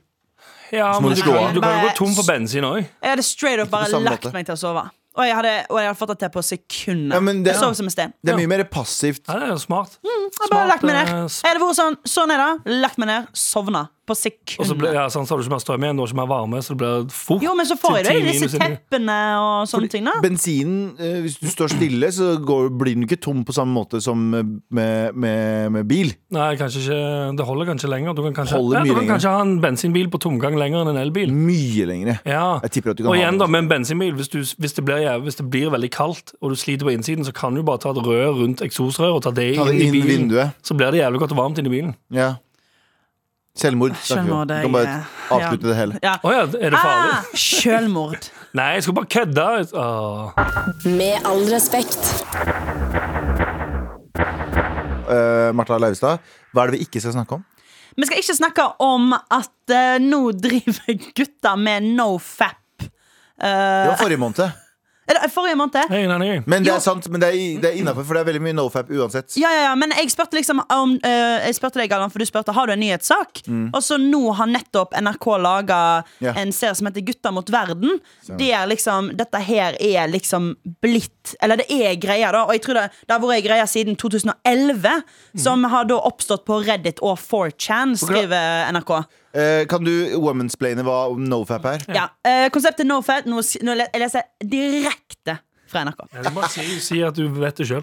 Speaker 2: Ja,
Speaker 3: må
Speaker 2: men
Speaker 3: du
Speaker 2: du,
Speaker 3: slå
Speaker 2: kan-
Speaker 3: av.
Speaker 2: du kan jo gå tom for bensin òg.
Speaker 4: Jeg hadde straight up bare
Speaker 3: på samme
Speaker 4: lagt
Speaker 3: måte.
Speaker 4: meg til å sove. Og jeg hadde, og jeg hadde fått det til på
Speaker 3: Ja,
Speaker 4: sekundet.
Speaker 3: men det-
Speaker 4: jeg sov som en sten.
Speaker 3: Det er mye mer passivt.
Speaker 2: Ja, det er jo smart.
Speaker 4: Jeg bare lagt meg ned.
Speaker 2: eh,
Speaker 4: Jeg hadde vært sånn, sånn er det. Lagt meg ned, sovna. På
Speaker 2: Og så ble,
Speaker 4: sekundet.
Speaker 2: ja, sånn, så har du ikke mer strøm igjen, du har ikke mer varme, så det blir fort
Speaker 4: Jo, men så får jeg
Speaker 2: til
Speaker 4: det i
Speaker 2: ti
Speaker 4: disse
Speaker 2: minus inni.
Speaker 4: teppene og sånne ting, da.
Speaker 3: Bensinen, eh, hvis du står stille, så går, blir den ikke tom på samme måte som med, med, med bil.
Speaker 2: Nei, kanskje ikke, det holder kanskje lenger. Du kan kanskje,
Speaker 3: Holder
Speaker 2: ja, du
Speaker 3: mye
Speaker 2: kan
Speaker 3: lenger.
Speaker 2: kanskje ha en bensinbil på tomgang lenger enn en elbil.
Speaker 3: Mye lengre.
Speaker 2: Ja.
Speaker 3: Jeg tipper at du kan
Speaker 2: Og
Speaker 3: ha
Speaker 2: igjen
Speaker 3: det.
Speaker 2: da, med en bensinbil, hvis, du, hvis, det blir, jæv- hvis det blir veldig kaldt, og du sliter på innsiden, så kan du bare ta et rør rundt eksosrøret og ta det
Speaker 3: Ta
Speaker 2: inn
Speaker 3: det
Speaker 2: i
Speaker 3: inn i
Speaker 2: bilen.
Speaker 3: vinduet.
Speaker 2: Så blir det jævlig godt og varmt inni bilen.
Speaker 3: Ja. Selvmord. snakker vi om.
Speaker 4: Selvmord,
Speaker 3: Du kan
Speaker 4: jeg-
Speaker 3: bare avslutte
Speaker 4: ja.
Speaker 3: det hele.
Speaker 4: Ja.
Speaker 2: Å ja, er det farlig?
Speaker 4: Ah, Sjølmord.
Speaker 2: Nei, jeg skulle bare kødde. Åh.
Speaker 5: Med all respekt.
Speaker 3: Eh, Martha Leivestad, hva er det vi ikke skal snakke om?
Speaker 4: Vi skal ikke snakke om at eh, nå driver gutter med nofap.
Speaker 3: Det var forrige måned.
Speaker 4: Eller, Forrige måned.
Speaker 2: Jeg er enig.
Speaker 3: Men det
Speaker 4: Jo.
Speaker 3: er sant, men det er, det er innafor, for det er veldig mye nofap uansett.
Speaker 4: Ja, ja, ja, men jeg spurte liksom om eh, Jeg spurte deg, Galvan, for du spurte har du en nyhetssak. Og så nå har nettopp NRK laga
Speaker 3: Ja.
Speaker 4: en serie som heter Gutta mot verden. Det er liksom, dette her er liksom blitt Eller det er greia, da. Og jeg tror det, det har vært ei greie siden 2011, som har da oppstått på Reddit og 4chan, skriver NRK.
Speaker 3: Eh, kan du womansplaine hva nofap er?
Speaker 4: Ja. eh, konseptet NoFat, nå, s- nå le- jeg leser jeg direkte fra NRK.
Speaker 2: Ja, Du må si, si at du vet det sjøl.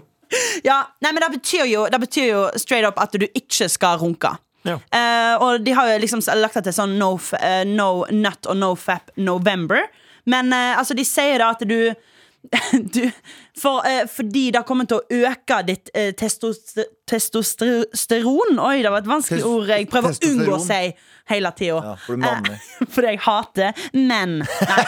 Speaker 4: Ja, nei, men det betyr, jo, det betyr jo straight up at du ikke skal runke.
Speaker 2: Ja.
Speaker 4: Eh, og de har jo liksom lagt det til sånn no, f- eh, no nut og no fap November. Men eh, altså, de sier da at du, du for, eh, Fordi det kommer til å øke ditt eh, testos- testosteron Oi, det var et vanskelig
Speaker 3: Tes-
Speaker 4: ord jeg prøver å unngå å si hele Eh, tida.
Speaker 3: Ja, for du manner.
Speaker 4: fordi jeg hater menn. Nei,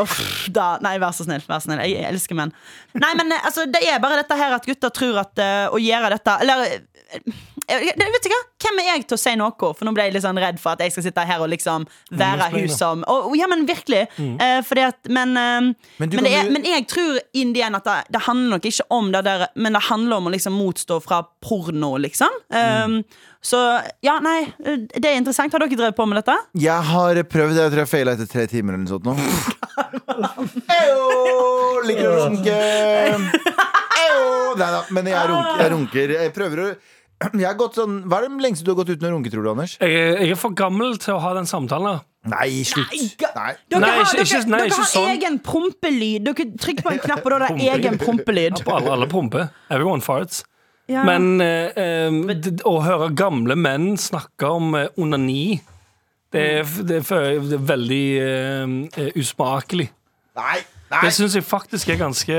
Speaker 4: Uff, da, nei vær så snill. Vær så snill. Jeg elsker menn. Nei, men eh, altså, det er bare dette her at gutter tror at eh, å gjøre dette Eller eh, jeg- jeg- vet du hva? Hvem er jeg til å si noe? For nå ble jeg litt sånn redd for at jeg skal sitte her og
Speaker 3: Mm,
Speaker 4: liksom være
Speaker 2: spennende.
Speaker 4: hun som og, og Ja, men virkelig. Eh, fordi at, men, eh,
Speaker 3: Men
Speaker 4: men,
Speaker 3: du
Speaker 4: det
Speaker 3: kan
Speaker 4: er,
Speaker 3: jo-
Speaker 4: men jeg tror indien at det, det handler nok ikke om det der, men det handler om å liksom motstå fra porno, liksom.
Speaker 3: Mm.
Speaker 4: Um, Så ja, nei, eh, det er interessant. Har dere drevet på med dette?
Speaker 3: Jeg har prøvd, jeg tror jeg feila etter tre timer eller noe sånt nå. Eyo, Liker å runke. Eyo. Nei da, men jeg runker. Jeg, runker. jeg prøver å jeg har gått sånn, Hva er det lengste du har gått uten å runke, tror du, Anders?
Speaker 2: Jeg, er- jeg er for gammel til å ha den samtalen. her.
Speaker 3: Nei, slutt. Nei.
Speaker 4: Dere
Speaker 2: Nei,
Speaker 4: har,
Speaker 2: ikke-
Speaker 4: dere,
Speaker 2: ikke- nei,
Speaker 4: dere
Speaker 2: ikke
Speaker 4: har
Speaker 2: sånn.
Speaker 4: egen prompelyd. Dere trykker på en knapp, og da er det
Speaker 2: Prompelyd.
Speaker 4: egen prompelyd.
Speaker 2: På alle, alle pumper. Everyone farts.
Speaker 4: Ja.
Speaker 2: Men eh, eh, d- å høre gamle menn snakke om eh, onani det er, f- det, er, f- det er veldig eh, eh, usmakelig.
Speaker 3: Nei. Nei.
Speaker 2: Det syns jeg faktisk er ganske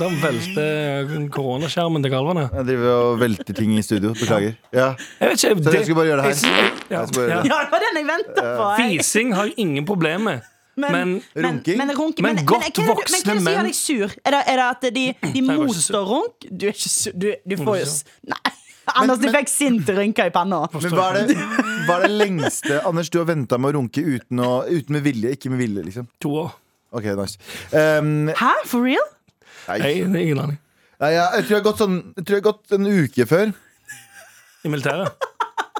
Speaker 2: Da velter koronaskjermen til kalvene.
Speaker 3: Jeg driver og velter ting i studio. Beklager. Ja.
Speaker 2: Jeg vet ikke,
Speaker 3: Så jeg skulle bare gjøre det her.
Speaker 2: jeg synes- ja,
Speaker 3: Jeg skulle bare gjøre
Speaker 2: ja.
Speaker 4: Ja, det var den jeg venta på. jeg.
Speaker 2: Fising har jeg ingen problem med. Eh, Men
Speaker 3: Runking?
Speaker 4: Men, men, runking,
Speaker 2: Men godt
Speaker 4: hva er det- men,
Speaker 2: voksne
Speaker 4: hva er det som
Speaker 2: menn-
Speaker 4: gjør deg sur? Er det, er det at de, de
Speaker 2: jeg var ikke sur.
Speaker 4: motstår runk? Du er ikke sur. Du, du får jo s- Nei.
Speaker 3: Men-
Speaker 4: Anders, du
Speaker 3: men-
Speaker 4: fikk sinte rynker i panna.
Speaker 3: Men hva er, det, hva er det lengste Anders, du har venta med å runke uten, å, uten med vilje? Ikke med vilje, liksom.
Speaker 2: to år.
Speaker 3: Ok, nice. Um,
Speaker 4: Hæ? For real?
Speaker 3: nei,
Speaker 2: Jeg, det er ingen aning.
Speaker 3: nei, jeg, jeg tror jeg har gått sånn Jeg tror jeg har gått en uke før.
Speaker 2: I militæret.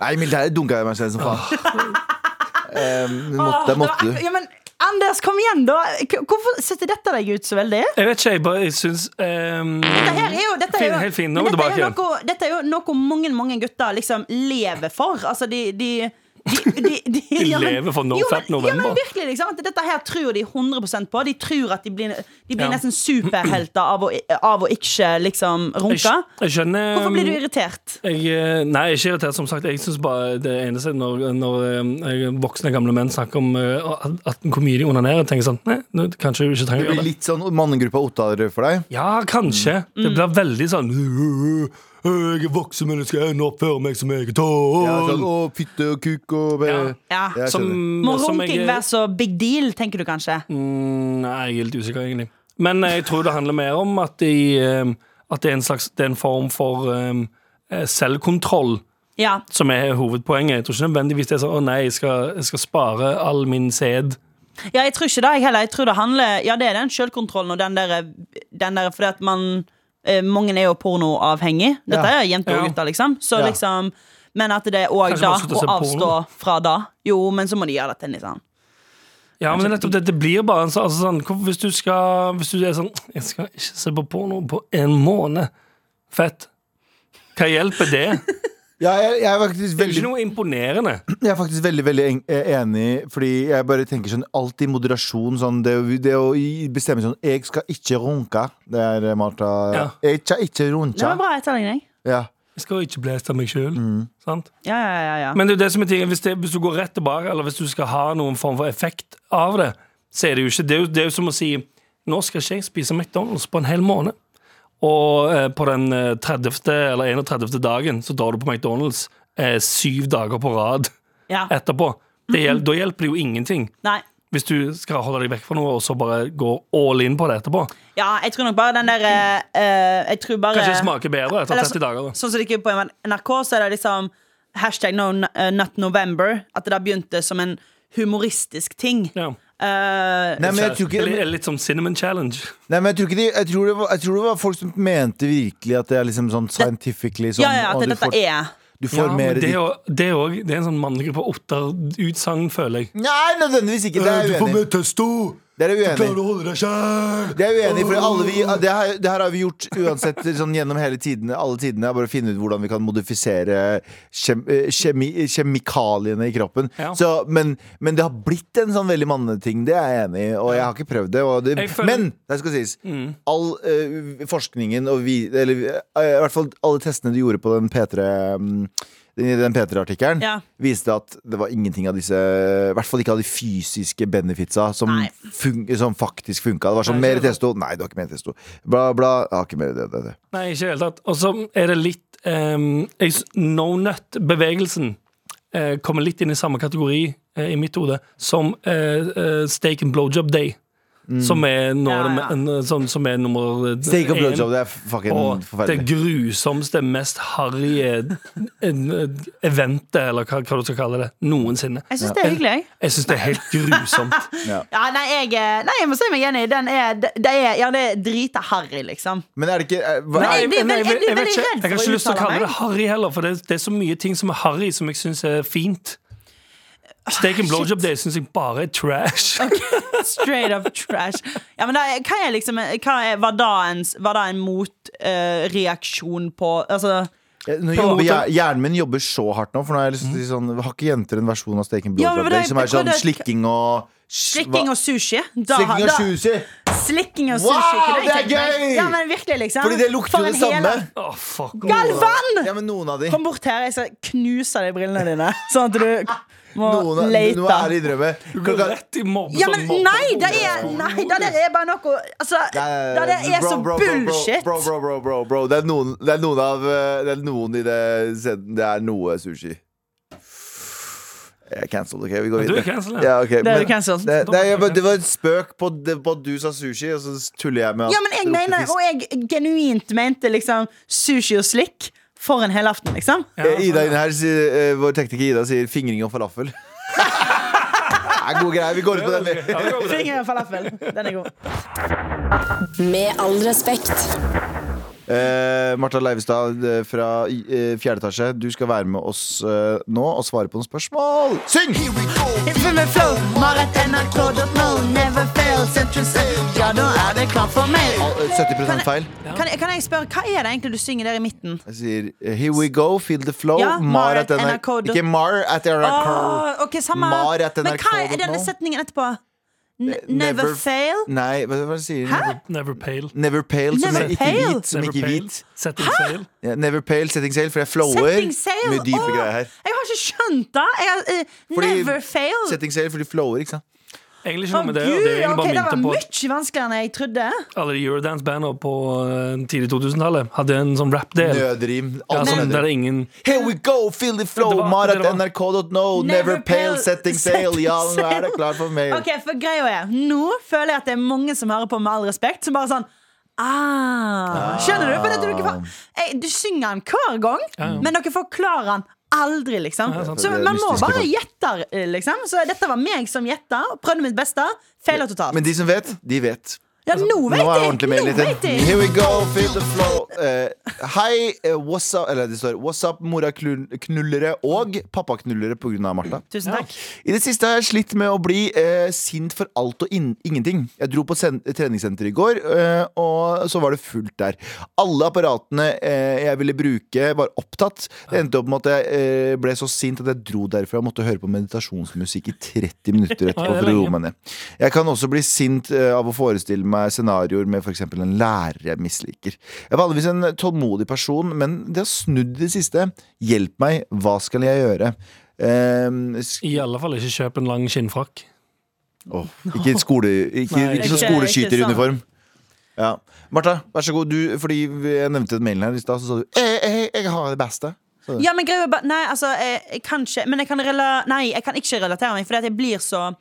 Speaker 3: Nei, i militæret dunka jeg meg selv som faen. Um, men måtte, der måtte du.
Speaker 4: Ja, men Anders, kom igjen, da! K- Hvorfor setter dette deg ut så veldig?
Speaker 2: Jeg vet ikke, jeg bare jeg syns ehm,
Speaker 4: Dette her er jo, dette er jo,
Speaker 2: Fin- helt fin. Nå må du
Speaker 4: men dette er jo
Speaker 2: tilbake
Speaker 4: noe, dette er jo noe mange mange gutter liksom lever for. Altså, de De, de, de, de, ja, men-
Speaker 2: lever for No
Speaker 4: jo, men-
Speaker 2: Fat November.
Speaker 4: Ja, men virkelig, liksom. at Dette her tror de 100 på. De tror at de blir, de blir
Speaker 2: Ja.
Speaker 4: nesten superhelter av å, av å ikke liksom
Speaker 2: jeg,
Speaker 4: runke.
Speaker 2: skj- jeg skjønner
Speaker 4: Hvorfor blir du irritert?
Speaker 2: Jeg, eh, nei, jeg er ikke irritert, som sagt. Jeg synes bare det eneste når, når eh, jeg- voksne gamle menn snakker om eh, at- at hvor mye de onanerer, tenker jeg sånn Nei, nå, kanskje du ikke trenger
Speaker 3: Det
Speaker 2: å
Speaker 3: blir
Speaker 2: gjøre det.
Speaker 3: litt sånn mannegruppa Ottarud for deg.
Speaker 2: Ja, kanskje.
Speaker 4: Mm.
Speaker 2: Det blir veldig sånn «Øh, øh, øh, Jeg er voksen menneske, jeg oppfører meg som jeg er
Speaker 3: Ja, sånn,
Speaker 2: tolv.
Speaker 3: å, fitte og kuk og
Speaker 2: Ja.
Speaker 4: Ja.
Speaker 3: Jeg
Speaker 2: Som,
Speaker 3: skjønner.
Speaker 4: Må
Speaker 2: som jeg-
Speaker 4: runking være så big deal, tenker du kanskje?
Speaker 2: Mm, Nei, jeg er litt usikker, egentlig. Men eh, jeg tror det handler mer om at, de, eh, at det, er en slags, det er en form for eh, selvkontroll
Speaker 4: Ja.
Speaker 2: som er hovedpoenget. Jeg tror ikke nødvendigvis det er sånn å nei, jeg skal, jeg skal spare all min sæd.
Speaker 4: Ja, jeg tror ikke det, jeg heller. Jeg tror det handler Ja, det er den selvkontrollen og den der, den der Fordi at man eh, Mange er jo pornoavhengig. Dette
Speaker 3: Ja.
Speaker 4: er jenter og
Speaker 2: Ja.
Speaker 4: gutter, liksom. Så
Speaker 3: Ja.
Speaker 4: liksom Men at det er òg
Speaker 2: Kanskje
Speaker 4: da
Speaker 2: man slutter å
Speaker 4: å
Speaker 2: se
Speaker 4: avstå
Speaker 2: porno?
Speaker 4: fra det. Jo, men så må de gjøre det til en litt sånn
Speaker 2: Ja, men nettopp det, det blir bare en sånn, altså sånn hvor- Hvis du skal Hvis du er sånn Jeg skal ikke se på porno på en måned. Fett. Hva hjelper det? Det
Speaker 3: Ja, jeg, jeg er faktisk
Speaker 2: er
Speaker 3: veldig
Speaker 2: ikke noe imponerende.
Speaker 3: Jeg er faktisk veldig veldig en- eh, enig, fordi jeg bare tenker sånn alt i moderasjon. Sånn, det, å- det å i- bestemme sånn Jeg skal ikke runke. Det er eh, Martha.
Speaker 2: Ja.
Speaker 3: Jeg skal ikke
Speaker 4: Det var
Speaker 3: runke.
Speaker 4: bra etterligning.
Speaker 3: Ja.
Speaker 2: Jeg skal jo ikke blæste meg sjøl.
Speaker 4: Ja, ja, ja, ja.
Speaker 2: Men det er jo det som er tingen, hvis, det, hvis du går rett tilbake, eller hvis du skal ha noen form for effekt av det, så er det jo ikke Det er jo, det er jo som å si Nå skal ikke jeg spise McDonald's på en hel måned. Og eh, på den eh, 30. eller 31. dagen så drar du på McDonald's eh, syv dager på rad
Speaker 4: ja.
Speaker 2: etterpå. Det
Speaker 3: Mhm.
Speaker 2: hjel Da hjelper det jo ingenting.
Speaker 4: Nei.
Speaker 2: Hvis du skal holde deg vekk fra noe, og så bare går all in på det etterpå.
Speaker 4: Ja, jeg tror nok bare den der eh, eh, Jeg tror bare
Speaker 2: Kanskje det smaker bedre etter
Speaker 4: Eller
Speaker 2: 30 dager. da.
Speaker 4: Sånn som det ikke er på NRK, så er det liksom hashtag no, eh, not November. At det da begynte som en humoristisk ting.
Speaker 2: Ja.
Speaker 4: Eh,
Speaker 3: Nei, men jeg tror
Speaker 2: Eller,
Speaker 3: ikke
Speaker 2: eller litt som Cinnamon Challenge.
Speaker 3: Nei, men jeg tror, ikke de, jeg, tror det var, jeg tror det var folk som mente virkelig at det er liksom sånn scientifically sånn
Speaker 4: ja, ja,
Speaker 3: og
Speaker 4: at
Speaker 3: du
Speaker 4: dette
Speaker 3: får,
Speaker 4: er
Speaker 3: Du får
Speaker 2: men
Speaker 3: mer
Speaker 2: det, er
Speaker 3: ditt.
Speaker 2: jo- det, er også- det er en sånn mannegruppe Otter-utsagn, føler jeg.
Speaker 3: Nei, nødvendigvis
Speaker 2: Eh,
Speaker 3: ikke. Det er jeg uenig. i.
Speaker 2: testo!
Speaker 3: Det er jeg uenig. i.
Speaker 2: å holde deg sjæl!
Speaker 3: Det er jeg uenig, i, for alle vi, det, her, det her har vi gjort uansett sånn, gjennom hele tidene. Alle tidene er bare å finne ut hvordan vi kan modifisere kjem, eh, kjemi, kjemikaliene i kroppen.
Speaker 2: Ja.
Speaker 3: Så, men, men det har blitt en sånn veldig manneting, det er jeg enig i. Og jeg har ikke prøvd det. Og det
Speaker 2: Jeg føler- Mm.
Speaker 3: men det skal sies. All eh, forskningen og vi Eller eh, i hvert fall alle testene du gjorde på den P3 mm, den den P3-artikkelen
Speaker 4: Ja.
Speaker 3: viste at det var ingenting av disse I hvert fall ikke av de fysiske benefitsa som,
Speaker 4: Nei.
Speaker 3: fun som faktisk funka. Det var sånn
Speaker 2: Nei,
Speaker 3: mer
Speaker 2: ikke det.
Speaker 3: testo. Nei, du har ikke mer testo. Bla, bla. Jeg har ikke mer det, det, det.
Speaker 2: Nei, ikke i det hele tatt. Og så er det litt ehm, jeg s- No nut-bevegelsen eh, kommer litt inn i samme kategori eh, i mitt hode som eh, eh, steak and blowjob day. Som, er nå
Speaker 4: Ja,
Speaker 2: det
Speaker 4: ja.
Speaker 2: me- en, sånn, som er nummer eh,
Speaker 3: Mm. Steak og
Speaker 2: en.
Speaker 3: blowjob, det er fucking
Speaker 2: Og det
Speaker 3: forferdelig.
Speaker 2: grusomste, mest harry eh, eh, eventet, eller hva, hva du skal kalle det, noensinne.
Speaker 4: Jeg syns det er hyggelig, jeg.
Speaker 2: Jeg syns det er helt grusomt.
Speaker 4: Ja, nei, jeg, eh, nei, jeg må si meg enig. Den er, det det er, ja, det er drita harry, liksom.
Speaker 3: Men er det ikke eh, hva,
Speaker 4: Nei, jeg blir
Speaker 2: nei,
Speaker 4: veldig- jeg blir
Speaker 2: vet
Speaker 4: veldig
Speaker 2: ikke.
Speaker 4: redd
Speaker 2: Jeg har
Speaker 4: for å
Speaker 2: ikke lyst til å
Speaker 4: uttale
Speaker 2: kalle det
Speaker 4: meg.
Speaker 2: harry heller, for det, det er så mye ting som er harry som jeg syns er fint. Steak
Speaker 4: Ah,
Speaker 2: and blowjob day syns jeg bare er trash.
Speaker 4: Straight up trash. Ja, men da, hva er liksom hva er, var, da en, var da en motreaksjon på Altså
Speaker 3: Eh, nå jobber, jeg, Hjernen min jobber så hardt nå, for nå har jeg lyst til å si sånn Har ikke jenter en versjon av steak and
Speaker 4: Ja,
Speaker 3: blowjob
Speaker 4: men det-
Speaker 3: day som er
Speaker 4: jeg tror
Speaker 3: sånn
Speaker 4: det-
Speaker 3: slikking og
Speaker 4: slikking og
Speaker 3: hva-
Speaker 4: sushi. Da,
Speaker 3: Slikking og
Speaker 4: da-
Speaker 3: sushi!
Speaker 4: slikking og
Speaker 3: Wow,
Speaker 4: sushi. kunne
Speaker 3: det
Speaker 4: jeg
Speaker 3: er
Speaker 4: tenkt meg.
Speaker 3: gøy!
Speaker 4: Ja, men virkelig, liksom.
Speaker 3: Fordi det lukter jo
Speaker 4: For
Speaker 3: det
Speaker 4: en
Speaker 3: samme.
Speaker 4: hel-
Speaker 2: Å, fuck.
Speaker 4: Galvan!
Speaker 3: Ja, men noen av de.
Speaker 4: Kom bort her, jeg skal knuse deg i brillene dine. Sånn at du må
Speaker 3: Noen av,
Speaker 4: lete.
Speaker 3: du må ærlig innrømme.
Speaker 2: Du går
Speaker 3: Klokka,
Speaker 2: rett i sånn mobbe
Speaker 4: Ja, men nei! Det er, nei, det der er bare noe Altså, det der er så bullshit.
Speaker 3: Bro, bro, bro, bro, bro. Det, er noen, det er noen av eh, Det er noen i det senden- Det er noe sushi. Jeg er cancelled, OK? Vi går
Speaker 2: Du er
Speaker 3: videre.
Speaker 2: cancelled, ja.
Speaker 3: ja, ok,
Speaker 4: Det er
Speaker 3: men-
Speaker 4: du cancelled.
Speaker 3: Det, nei, jeg bare- det var en spøk på, det, på at du sa sushi, og så tuller jeg med at
Speaker 4: Ja, men jeg
Speaker 3: det lukter
Speaker 4: mener,
Speaker 3: fisk.
Speaker 4: og jeg genuint mente liksom sushi og slikk for en hel aften, liksom.
Speaker 3: Eh, Ida inne her, sier, eh, vår tekniker Ida, sier fingring og falafel. det er gode greier. Vi går ut på den. vi.
Speaker 4: Finger og falafel. Den er god.
Speaker 5: Med all respekt.
Speaker 3: Eh, Martha Leivestad eh, fra eh, fjerde etasje, du skal være med oss eh, nå og svare på noen spørsmål. Syng!
Speaker 4: Ja, da er det klart for meg.
Speaker 3: Al- eh, 70 feil.
Speaker 4: Kan, kan jeg spørre, hva er det egentlig du synger der i midten?
Speaker 3: Jeg sier eh, Here we go, feel the flow.
Speaker 4: Ja,
Speaker 3: mar at NRK.
Speaker 4: NRK.
Speaker 3: Ikke Mar at NRK.
Speaker 4: Åh, Ah, ok, samme.
Speaker 3: Mar at
Speaker 4: Men hva er
Speaker 3: NRK.no?
Speaker 4: denne setningen etterpå? N never,
Speaker 3: never-
Speaker 4: fail?
Speaker 3: Nei, hva hva sier den?
Speaker 2: Never pale.
Speaker 3: Never pale, som
Speaker 4: Never
Speaker 3: er ikke
Speaker 4: pale?
Speaker 3: hvit. Som
Speaker 2: Never
Speaker 3: ikke
Speaker 2: pale.
Speaker 3: hvit.
Speaker 2: Setting sail.
Speaker 3: Ja, never pale, setting sail, for jeg flower.
Speaker 4: Setting sail?
Speaker 3: Med dype
Speaker 4: Åh,
Speaker 3: greier her.
Speaker 4: Jeg har ikke skjønt det. Jeg, har, eh,
Speaker 3: Fordi-
Speaker 4: never fail.
Speaker 3: Setting sail, for de flower, ikke sant?
Speaker 2: Egentlig
Speaker 4: Å,
Speaker 2: ikke noe med det.
Speaker 4: Gud,
Speaker 2: Det er egentlig
Speaker 4: ok,
Speaker 2: bare
Speaker 4: det var
Speaker 2: mynter på at
Speaker 4: mye vanskeligere enn jeg trodde.
Speaker 2: alle Eurodance-bander på eh, tidlig 2000-tallet hadde en sånn rap-del.
Speaker 3: Nødrim.
Speaker 2: Ja,
Speaker 3: alt som
Speaker 2: sånn,
Speaker 3: nødrim.
Speaker 2: der er ingen
Speaker 3: Here we go, feel the flow,
Speaker 2: Det var-
Speaker 3: mar at
Speaker 2: det var-
Speaker 3: nrk.no. Never
Speaker 4: Never
Speaker 3: pale,
Speaker 4: pale,
Speaker 3: setting sail. Ja,
Speaker 4: setting
Speaker 3: nå er det
Speaker 4: sail.
Speaker 3: klart for mail.
Speaker 4: Ok, for greia er Nå føler jeg at det er mange som hører på med all respekt, som bare sånn ah. Skjønner du? For dette, dere får, jeg, du synger den hver gang, men dere forklarer den aldri, liksom.
Speaker 2: sant.
Speaker 4: så
Speaker 3: Det er
Speaker 4: man må
Speaker 3: mystisk,
Speaker 4: bare
Speaker 3: i
Speaker 4: gjette, liksom. Så dette var meg som gjetta, prøvde mitt beste, feila totalt.
Speaker 3: Men de som vet, de vet.
Speaker 4: ja, nå
Speaker 3: Nå
Speaker 4: vet
Speaker 3: er
Speaker 4: jeg!
Speaker 3: ordentlig mail
Speaker 4: Nå
Speaker 3: liten.
Speaker 4: vet jeg!
Speaker 3: Here we go, feel the flow. Eh, Hei, eh, what's up Eller det står what's up, moraknullere og pappaknullere på grunn av Martha.
Speaker 4: Tusen takk.
Speaker 3: I det siste har jeg slitt med å bli eh, sint for alt og inn- ingenting. Jeg dro på sen- treningssenter i går, eh, og så var det fullt der. Alle apparatene eh, jeg ville bruke, var opptatt. Det endte opp med at jeg eh, ble så sint at jeg dro derfra og måtte høre på meditasjonsmusikk i 30 minutter etterpå.
Speaker 2: Ja, det er
Speaker 3: for å roe
Speaker 2: lenge.
Speaker 3: meg ned. Jeg kan også bli sint eh, av å forestille meg scenarioer med f.eks. en lærer jeg misliker. Jeg er vanligvis en tålmodig person, men det har snudd i det siste. Hjelp meg, hva skal jeg gjøre? Eh, sk-
Speaker 2: I alle fall ikke kjøp en lang skinnfrakk.
Speaker 3: Åh, ikke et skole, ikke,
Speaker 2: Nei,
Speaker 3: ikke sånn
Speaker 4: ikke-
Speaker 3: skoleskyteruniform. Ja. Martha, vær så god. Du, fordi jeg nevnte den mailen her i stad, så sa du jeg, jeg, jeg har det beste. Så-
Speaker 4: Ja, men greia er bare Nei, altså, jeg, jeg kan ikke Men jeg kan, rela nei, jeg kan ikke relatere meg, fordi at jeg blir så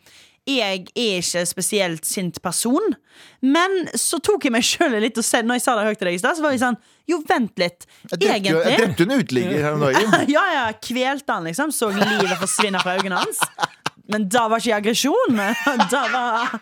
Speaker 4: jeg er ikke spesielt sint person, men så tok jeg meg sjøl litt og sa Når jeg sa det høyt til deg i stad, så var jeg sånn Jo, vent litt.
Speaker 3: Jeg drepte, jo- jeg
Speaker 4: Egentlig
Speaker 3: drepte jo en uteligger her om dagen.
Speaker 4: Ja, ja, kvelte han liksom. Så livet forsvinne fra øynene hans. Men da var ikke jeg aggresjon. Da var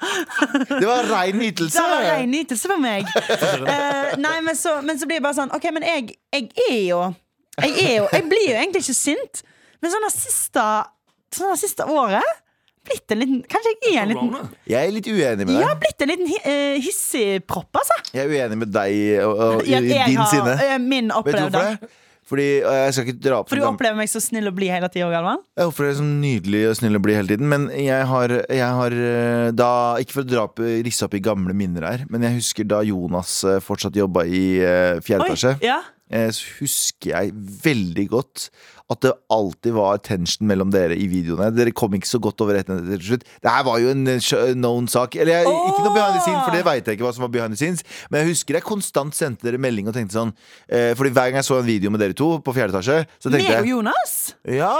Speaker 3: Det var rein
Speaker 4: da
Speaker 3: nytelse.
Speaker 4: var det en nytelse for meg. Eh, nei, men så, men så blir det bare sånn OK, men jeg, jeg er jo Jeg er jo Jeg blir jo egentlig ikke sint, men sånn det siste, sånn det siste året blitt en liten, Kanskje jeg er en liten
Speaker 2: Corona.
Speaker 3: Jeg er litt uenig med
Speaker 4: Jeg
Speaker 3: deg.
Speaker 4: har blitt en liten hi, eh, hissigpropp, altså.
Speaker 3: Jeg er uenig med deg og, og, i
Speaker 4: Jeg- jeg
Speaker 3: din
Speaker 4: har,
Speaker 3: sinne.
Speaker 4: eh, Min
Speaker 3: Vet du
Speaker 4: opplevde.
Speaker 3: hvorfor det? Fordi, og jeg skal ikke dra opp
Speaker 4: For du
Speaker 3: noen-
Speaker 4: opplever meg så snill og blid hele tida, Galvan?
Speaker 3: Jeg oppfører meg som nydelig og snill og blid hele tiden, men jeg har, jeg har eh, da Ikke for å dra opp, risse opp i gamle minner her, men jeg husker da Jonas eh, fortsatt jobba i eh, fjerde
Speaker 4: Oi,
Speaker 3: etasje.
Speaker 4: ja.
Speaker 3: eh, Så husker jeg veldig godt at det alltid var tension mellom dere i videoene. Dere kom ikke så godt over etter til slutt. Det her var jo en eh, sjø- known sak. Eller jeg, ikke noe behind the scenes, for det veit jeg ikke hva som var behind the scenes. Men jeg husker jeg konstant sendte dere melding og tenkte sånn eh, Fordi hver gang jeg så en video med dere to på fjerde etasje, så
Speaker 4: Meg
Speaker 3: tenkte
Speaker 4: og
Speaker 3: jeg
Speaker 4: Jonas?
Speaker 3: Ja!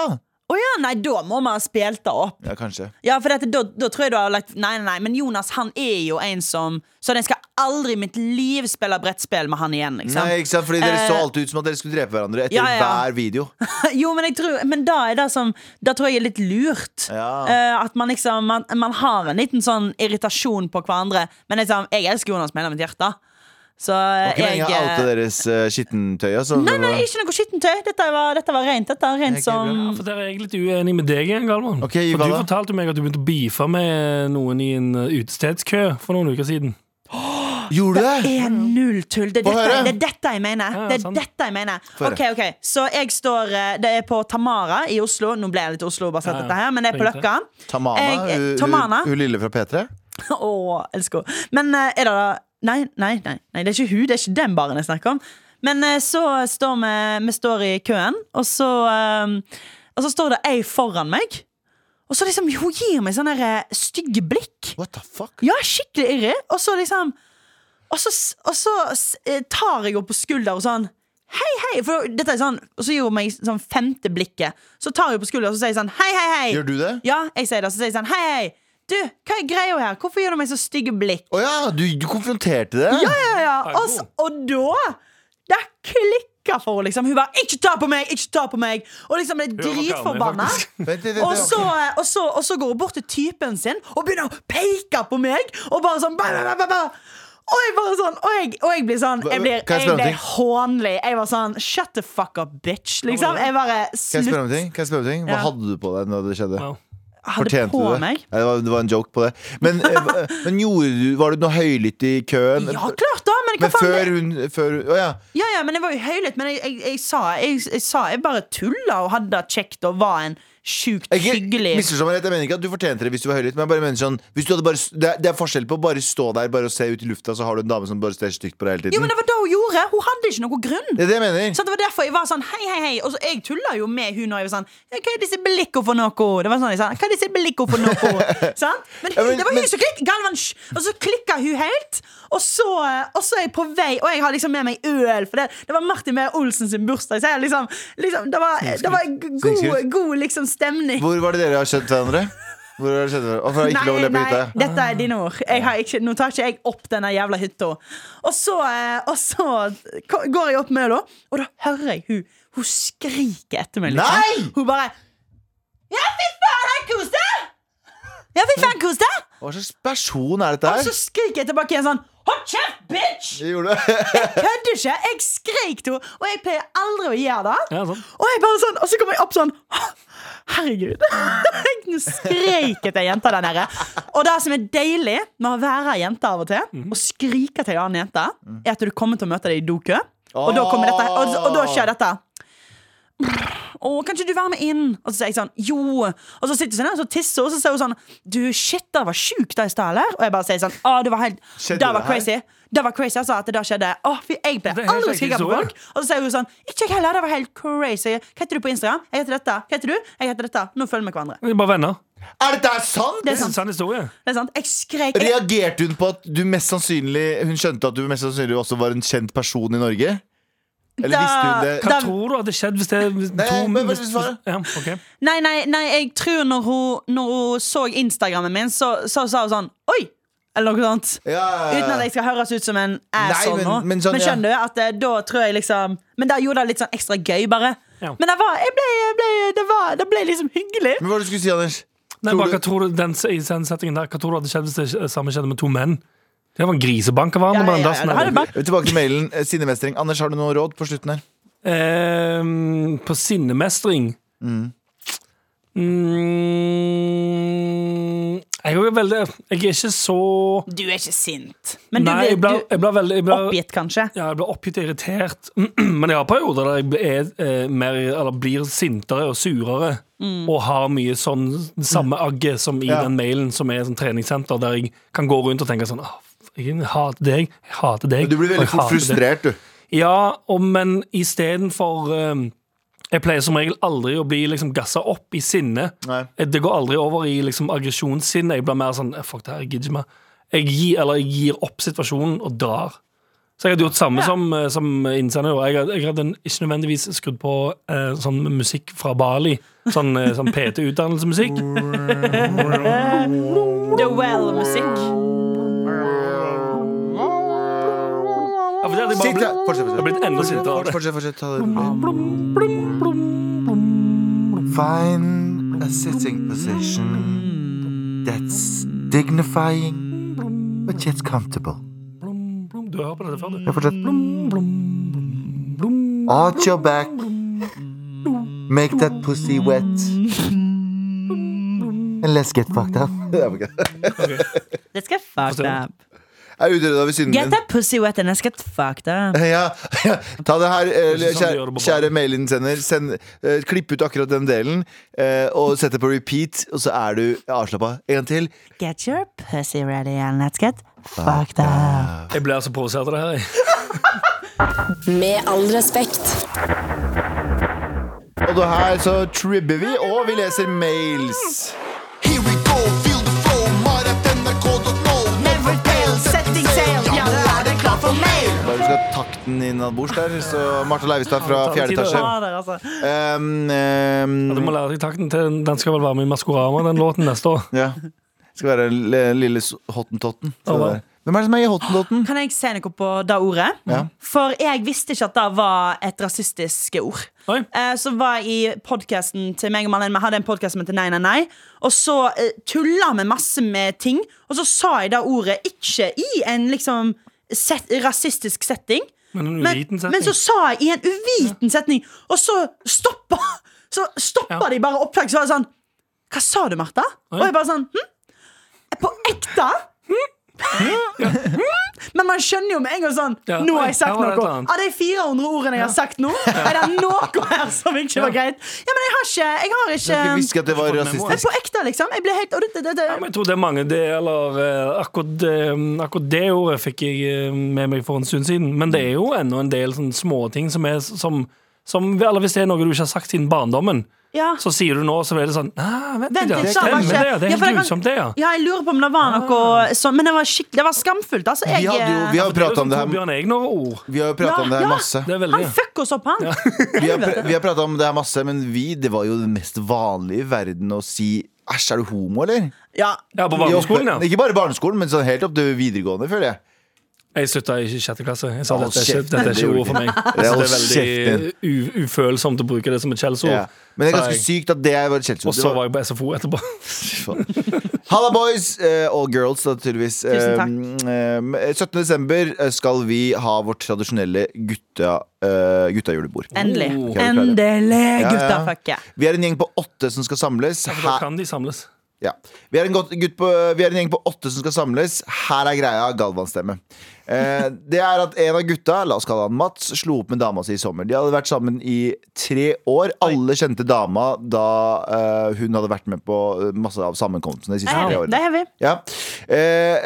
Speaker 4: Å ja, nei, da må vi ha spilt det opp.
Speaker 3: Ja, kanskje.
Speaker 4: Ja, for dette, da, da tror jeg du har lagt Nei, nei, nei, men Jonas han er jo en som Så jeg skal aldri i mitt liv spille brettspill med han igjen, liksom.
Speaker 3: Nei, ikke sant? Fordi dere så
Speaker 4: Eh,
Speaker 3: alltid ut som at dere skulle drepe hverandre etter
Speaker 4: ja, ja, Eh, ja.
Speaker 3: hver video.
Speaker 4: Jo, men jeg tror Men da er det som Da tror jeg er litt lurt.
Speaker 3: Ja.
Speaker 4: Eh, at man liksom man, man har en liten sånn irritasjon på hverandre. Men liksom, jeg elsker Jonas med hele mitt hjerte. Så
Speaker 3: Var ikke
Speaker 4: jeg
Speaker 3: lenge jeg outa
Speaker 4: eh,
Speaker 3: deres eh, skittentøy. Altså.
Speaker 4: Nei, nei, ikke noe skittentøy. Dette var, dette var rent. Dette er
Speaker 3: Ok,
Speaker 4: rent
Speaker 2: Ja,
Speaker 4: som
Speaker 2: for Der er jeg litt uenig med deg igjen, Galvan.
Speaker 3: Ok, i
Speaker 2: for
Speaker 3: hva
Speaker 2: du
Speaker 3: da?
Speaker 2: fortalte meg at du begynte å beefe med noen i en uh, utestedskø for noen uker siden.
Speaker 3: Gjorde du det?
Speaker 4: er null tull. Det er
Speaker 3: Få
Speaker 4: dette,
Speaker 3: høre.
Speaker 4: det er dette jeg mener.
Speaker 2: Ja, sånn. ja,
Speaker 4: Det er
Speaker 2: sant.
Speaker 4: dette jeg mener.
Speaker 3: høre.
Speaker 4: Ok, ok Så jeg står eh, Det er på Tamara i Oslo. Nå ble jeg litt Oslo-basert,
Speaker 2: Ja, ja.
Speaker 4: dette her, men det er på
Speaker 2: Tenkte.
Speaker 4: Løkka.
Speaker 3: Tamana,
Speaker 4: Jeg-
Speaker 3: hun, hun,
Speaker 4: Tamana.
Speaker 3: hun lille fra P3?
Speaker 4: Å, elsker henne. Men eh, er det da nei, nei, nei, nei, det er ikke hun. Det er ikke den baren jeg snakker om. Men eh, så står vi, vi står i køen, og så, eh, og så står det ei foran meg. Og så liksom, hun gir meg sånne eh, stygge blikk.
Speaker 3: What the fuck?
Speaker 4: Ja, skikkelig irri. Og så liksom Og så, s- og så s- eh, tar jeg henne på skulder og sånn Hei, hei! For dette er sånn, og så gir hun meg sånn femte blikket. Så tar jeg henne på skulder og så sier jeg sånn Hei, hei, hei!
Speaker 3: Gjør du det?
Speaker 4: Ja, jeg sier det, så sier jeg sånn Hei, hei! Du, hva er greia her? Hvorfor gir du meg så stygge blikk?
Speaker 3: Å ja, du, du konfronterte det?
Speaker 4: Ja, ja, ja. Og, så, og da Det klikka for henne, liksom. Hun bare 'Ikke ta på meg! Ikke ta på meg!' Og liksom ble
Speaker 2: var gammel,
Speaker 4: dritforbanna.
Speaker 2: faktisk.
Speaker 3: Vent, vent, vent,
Speaker 4: Og
Speaker 3: vent.
Speaker 4: så, eh, og, så, og så går hun bort til typen sin og begynner å peke på meg. Og bare sånn ba, ba, ba, ba, ba. Og jeg bare sånn Og jeg, og jeg blir sånn
Speaker 3: Hva-
Speaker 4: Jeg blir,
Speaker 3: kan jeg
Speaker 4: jeg
Speaker 3: spørre om
Speaker 4: ble
Speaker 3: ting?
Speaker 4: hånlig. Jeg var sånn Shut the fuck up, bitch. Liksom. Jeg bare
Speaker 3: Kan jeg spørre
Speaker 4: Slutt.
Speaker 3: om ting? Kan jeg spørre om ting? Hva
Speaker 4: Ja.
Speaker 3: hadde du på deg når det skjedde?
Speaker 2: Wow.
Speaker 4: Hadde på
Speaker 3: du det?
Speaker 4: meg.
Speaker 3: Nei, det, var, det var en joke på det. Men, eh, hva- men gjorde du, var du noe høylytt i køen?
Speaker 4: Ja, klart da, men hva
Speaker 3: men
Speaker 4: faen?
Speaker 3: før hun før, Å ja.
Speaker 4: Ja, ja, men jeg var jo høylytt. Men jeg, jeg, jeg, sa, jeg, jeg sa jeg bare tulla og hadde det kjekt og var en sjukt
Speaker 3: Ikke,
Speaker 4: hyggelig
Speaker 3: misforstå meg rett, jeg mener ikke at du fortjente det hvis du var høylytt. Men jeg bare mener sånn hvis du hadde bare, det, er, det er forskjell på å bare stå der Bare å se ut i lufta, så har du en dame som bare ser stygt på deg hele tiden.
Speaker 4: Jo, men det var det hun gjorde. Hun hadde ikke noen grunn.
Speaker 3: det er det jeg mener.
Speaker 4: Så det var derfor jeg var sånn hei, hei, hei. Og så jeg tulla jo med hun når jeg var sånn «Ja, Hva er disse blikkene for noe? Det var sånn jeg sa. Hva er disse blikkene for noe? Sant? Men,
Speaker 3: Ja, men-
Speaker 4: hun, det var
Speaker 3: men-
Speaker 4: hun som klikket. Galvan, hysj! Og så klikka hun helt. Og så, eh, og så er jeg på vei, og jeg har liksom med meg øl, for det, det var Martin Meyer Olsen sin bursdag. Så jeg liksom, liksom Det var, det var god,
Speaker 3: Snikskryt.
Speaker 4: god liksom stemning.
Speaker 3: Hvor var det dere har kjent hverandre? Hvor har dere kjent hverandre? Hvorfor har jeg ikke lov å løpe hytta?
Speaker 4: dette er dine ord. Jeg har ikke, nå tar ikke jeg opp denne jævla hytta. Og så, eh, og så ko- går jeg opp med henne, og da hører jeg hun Hun skriker etter meg. liksom.
Speaker 3: Nei!
Speaker 4: Hun bare Ja, fy faen, her kos deg! Ja, fy faen, kos deg!
Speaker 3: Hva slags person er dette
Speaker 4: Og
Speaker 3: her?
Speaker 4: så skriker jeg tilbake igjen sånn Hold kjeft, bitch!
Speaker 3: Det gjorde du.
Speaker 4: Kødder ikke! Jeg skrek til henne, og jeg pleier aldri å gjøre det.
Speaker 2: Ja, sant.
Speaker 4: Og jeg bare sånn, og så kommer jeg opp sånn «Åh, Herregud. Nå skreket jeg jenta der nede. Og det som er deilig med å være jente av og til, og skrike til en annen jente,
Speaker 3: Mm.
Speaker 4: er at du kommer til å møte deg i dokø. Og da kommer dette Og, og da skjer dette. Å, kan ikke du være med inn? Og så sier jeg sånn, jo Og så sitter hun sånn her, og så tisser hun, og så sier hun sånn Du, shit, det var sjukt det i stad, eller? Og jeg bare sier sånn, å, det var helt
Speaker 3: Skjedde
Speaker 4: Det var
Speaker 3: det her?
Speaker 4: crazy. Det var crazy, altså, at det da skjedde. Å, fy, jeg ble
Speaker 2: Det er helt
Speaker 4: aldri
Speaker 2: sikkert
Speaker 4: skrika på
Speaker 2: så, ja.
Speaker 4: folk. Og så sier hun sånn, ikke jeg heller, det var helt crazy. Hva heter du på Instagram? Jeg heter dette. Hva heter du? Jeg heter dette. Nå følger vi hverandre.
Speaker 2: Vi er bare venner.
Speaker 3: Er dette her sant?
Speaker 2: Det
Speaker 4: Det er
Speaker 2: er en
Speaker 4: sant.
Speaker 2: sann historie.
Speaker 4: Det er sant. Jeg skrek. Jeg,
Speaker 3: Reagerte hun på at du mest sannsynlig Hun skjønte at du mest sannsynlig også var en kjent person i Norge? Eller
Speaker 4: Da-
Speaker 3: visste hun det?
Speaker 2: Hva
Speaker 4: Da-
Speaker 2: tror du hadde skjedd hvis det hvis
Speaker 3: Nei,
Speaker 2: to
Speaker 3: men hva
Speaker 2: hvis,
Speaker 3: skal du svare?
Speaker 2: ja, ok.
Speaker 4: nei, nei, nei, jeg tror når hun, når hun så Instagrammen min, så, så sa hun sånn, oi! Eller noe sånt.
Speaker 3: Ja, ja, ja.
Speaker 4: Uten at jeg skal høres ut som en asshole
Speaker 3: Nei, men-
Speaker 4: nå.
Speaker 3: men sånn, ja.
Speaker 4: skjønner du at eh, da tror jeg liksom Men da gjorde det litt sånn ekstra gøy, bare.
Speaker 2: Ja.
Speaker 4: Men det var, jeg ble, jeg ble, det, var, det ble liksom hyggelig.
Speaker 3: Men hva var det du skulle si, Anders?
Speaker 2: Nei,
Speaker 3: Tror
Speaker 2: bare,
Speaker 3: du-
Speaker 2: hva tror du, den, I den settingen der, hva tror du hadde skjedd hvis det sk- samme skjedde med to menn? Det var en grisebank av hverandre.
Speaker 4: Ja,
Speaker 2: på den
Speaker 4: ja, ja,
Speaker 2: dassen
Speaker 4: det
Speaker 2: der.
Speaker 4: hadde vært-
Speaker 3: Tilbake til mailen. eh, Sinnemestring. Anders, har du noe råd på slutten her?
Speaker 2: Ehm, på sinnemestring mm. Jeg er jo veldig Jeg er ikke så
Speaker 4: Du er ikke sint. Men
Speaker 2: Nei,
Speaker 4: du
Speaker 2: jeg ble,
Speaker 4: blir du,
Speaker 2: jeg ble veldig jeg ble,
Speaker 4: oppgitt, kanskje.
Speaker 2: ja, jeg ble oppgitt og irritert. Men jeg har perioder der jeg ble- er, eh, mer, eller blir sintere og surere. Og har mye sånn samme agget som i
Speaker 3: Mm. Ja.
Speaker 2: den mailen som er sånn treningssenter, der jeg kan gå rundt og tenke sånn «Åh, Jeg hater deg, jeg hater deg.
Speaker 3: Du blir
Speaker 2: og jeg
Speaker 3: veldig fort
Speaker 2: hater deg».
Speaker 3: frustrert, du.
Speaker 2: Ja, og, men istedenfor um, Jeg pleier som regel aldri å bli liksom, gassa opp i sinne. Eh,
Speaker 3: Nei.
Speaker 2: Det går aldri over i liksom, aggresjonssinne. Jeg blir mer sånn eh, Fuck det her, jeg gidder ikke mer. Jeg gir, eller jeg gir opp situasjonen og drar. Så jeg hadde gjort samme som, eh, som innsender. og Jeg, hadde- jeg hadde en- ikke nødvendigvis skrudd på eh, sånn musikk fra Bali. Sånn, eh, sånn PT-utdannelsesmusikk.
Speaker 4: The Well-musikk.
Speaker 2: Ja, for det hadde jeg bare
Speaker 3: Sitt her.
Speaker 2: blitt-
Speaker 3: Fortsett.
Speaker 2: jeg har blitt enda
Speaker 3: Fortsett,
Speaker 2: sintere av det.
Speaker 3: fortsett, fortsett. Ta det rolig. Find a sitting position that's dignifying, but yet comfortable.
Speaker 2: Blom, blom. Du har hørt på dette før, du.
Speaker 3: Fortsett.
Speaker 2: Blom, blom, blom, blom.
Speaker 3: Arch your back. Make that pussy wet. And let's get fucked up.
Speaker 4: Let's get fucked
Speaker 2: Forstår.
Speaker 4: up.
Speaker 3: Jeg er utrydda ved synden
Speaker 4: Get
Speaker 3: din.
Speaker 4: that pussy wet and let's get fucked up.
Speaker 3: Ja, ja. Ta det her, eh,
Speaker 2: Det er ikke sånn
Speaker 3: kjære,
Speaker 2: de gjør det på
Speaker 3: kjære mailinnsender. Send, eh, klipp ut akkurat den delen eh, og sett det på repeat, og så er du avslappa. En gang til.
Speaker 4: Get your pussy ready and let's get fucked up.
Speaker 2: Jeg ble altså provosert av det her. jeg.
Speaker 5: Med all respekt.
Speaker 3: Og da her så tribber vi, og vi leser mails.
Speaker 6: Here we go, feel the flow, mar at nrk.no. Never fail, setting sail, ja nå er det klart for mail.
Speaker 3: Bare du skal ha takten innabords der. Så Marte Leivestad fra
Speaker 2: Ja, det tar
Speaker 3: fjerde
Speaker 2: litt tid,
Speaker 3: etasje.
Speaker 4: Ja, der, altså.
Speaker 3: Um, um,
Speaker 2: Du må lære deg takten til Den skal vel være med i Maskorama, den låten neste år.
Speaker 3: Ja. Skal være l- lille s- hottentotten. Skal
Speaker 2: Åh.
Speaker 3: det være. Hvem er det som er i hottentotten?
Speaker 4: Kan jeg si noe på det ordet?
Speaker 3: Ja.
Speaker 4: For jeg visste ikke at det var et rasistisk ord.
Speaker 2: Oi.
Speaker 4: Eh, Så var jeg i podkasten til meg og Marlene. Vi hadde en podkast som heter Nei, nei, nei. Og så eh, tulla vi masse med ting, og så sa jeg det ordet ikke i en liksom set, rasistisk setting.
Speaker 2: Men en
Speaker 4: Men,
Speaker 2: uviten setning.
Speaker 4: men så sa jeg i en uviten setning, og så stoppa, så stoppa
Speaker 2: Ja.
Speaker 4: de bare opptak. Så var det sånn Hva sa du, Martha? Og jeg bare sånn hm? På ekte? Men man skjønner jo med en gang sånn
Speaker 2: Ja.
Speaker 4: Nå
Speaker 2: Oi,
Speaker 4: har jeg sagt
Speaker 2: her var det et
Speaker 4: noe.
Speaker 2: eller annet.
Speaker 4: Av de 400 ordene jeg har sagt nå, er det noe her som ikke
Speaker 2: Ja.
Speaker 4: var greit. Ja, men jeg har ikke Jeg har
Speaker 3: Jeg har ikke
Speaker 4: ikke
Speaker 3: hvisket at det var
Speaker 2: memo.
Speaker 4: men
Speaker 3: rasistisk.
Speaker 4: På ekte, liksom. Jeg ble helt og det, det, det.
Speaker 2: Ja, men jeg tror det er mange det, eller eh, akkurat, det- akkurat det ordet fikk jeg eh, med meg for en stund siden. Men det er jo ennå en del sånne småting som er som, som Eller hvis det er noe du ikke har sagt siden barndommen,
Speaker 4: Ja.
Speaker 2: så sier du nå, så blir det sånn Nei, vent
Speaker 4: Vent
Speaker 2: litt, ja.
Speaker 4: litt,
Speaker 2: Det
Speaker 4: sa
Speaker 2: stemmer,
Speaker 4: han ikke.
Speaker 2: det. ja. Det
Speaker 4: Ja,
Speaker 2: er
Speaker 4: for
Speaker 2: helt
Speaker 4: jeg kan-
Speaker 2: grusomt, det, ja. Ah.
Speaker 4: Ja, jeg lurer på om det var noe sånn, men det var skikkelig Det var skamfullt. Altså, jeg
Speaker 3: Vi hadde jo, vi har jo
Speaker 2: Det er jo
Speaker 3: prata om
Speaker 2: sånn
Speaker 3: det her
Speaker 2: Torbjørn Egner-ord.
Speaker 3: Vi har jo pratet
Speaker 4: Ja,
Speaker 3: om det her
Speaker 4: ja.
Speaker 3: masse.
Speaker 2: Det er veldig
Speaker 4: Han fucker oss opp, han.
Speaker 3: Vi har, pr- vi har pratet om det her masse, men vi, det var jo det mest vanlige i verden å si Æsj, er du homo, eller?
Speaker 4: Ja.
Speaker 2: Ja, på
Speaker 3: I
Speaker 2: barneskolen,
Speaker 3: oppe-
Speaker 2: ja.
Speaker 3: Ikke bare barneskolen, men sånn helt opp til videregående, føler jeg.
Speaker 2: Jeg slutta i sjette klasse. Jeg sa
Speaker 3: Hold
Speaker 2: dette er ikke,
Speaker 3: kjeft.
Speaker 2: dette er
Speaker 3: Det
Speaker 2: ikke
Speaker 3: gjorde
Speaker 2: ord for meg.
Speaker 3: Det er
Speaker 2: Så det er
Speaker 3: hold
Speaker 2: veldig u- ufølsomt å bruke det som et skjellsord.
Speaker 3: Ja. Men det er
Speaker 2: sa
Speaker 3: ganske
Speaker 2: jeg.
Speaker 3: sykt at det var et skjellsord.
Speaker 2: Og
Speaker 3: Det
Speaker 2: så
Speaker 3: var-
Speaker 2: var jeg på SFO etterpå.
Speaker 3: Halla, boys eh, og girls, da, tydeligvis.
Speaker 4: Tusen takk.
Speaker 3: Um, um, 17. desember eh, skal vi ha vårt tradisjonelle gutta, eh, guttajulebord.
Speaker 4: Endelig.
Speaker 2: Oh.
Speaker 4: Endelig,
Speaker 3: Ja, ja.
Speaker 4: gutta fucker.
Speaker 3: Vi er en gjeng på åtte som skal samles.
Speaker 2: For da
Speaker 3: Her,
Speaker 2: kan de samles.
Speaker 3: ja. vi, er en godt, gutt på, vi er en gjeng på åtte som skal samles. Her er greia, Galvan-stemme. Eh, det er at en av gutta, la oss kalle han Mats, slo opp med dama si i sommer. De hadde vært sammen i tre år. Alle kjente dama da eh, hun hadde vært med på eh, masse av sammenkomstene de
Speaker 4: Det
Speaker 3: siste
Speaker 4: er
Speaker 3: tre
Speaker 4: heavy.
Speaker 3: årene.
Speaker 4: Det er heavy.
Speaker 3: Ja. Eh,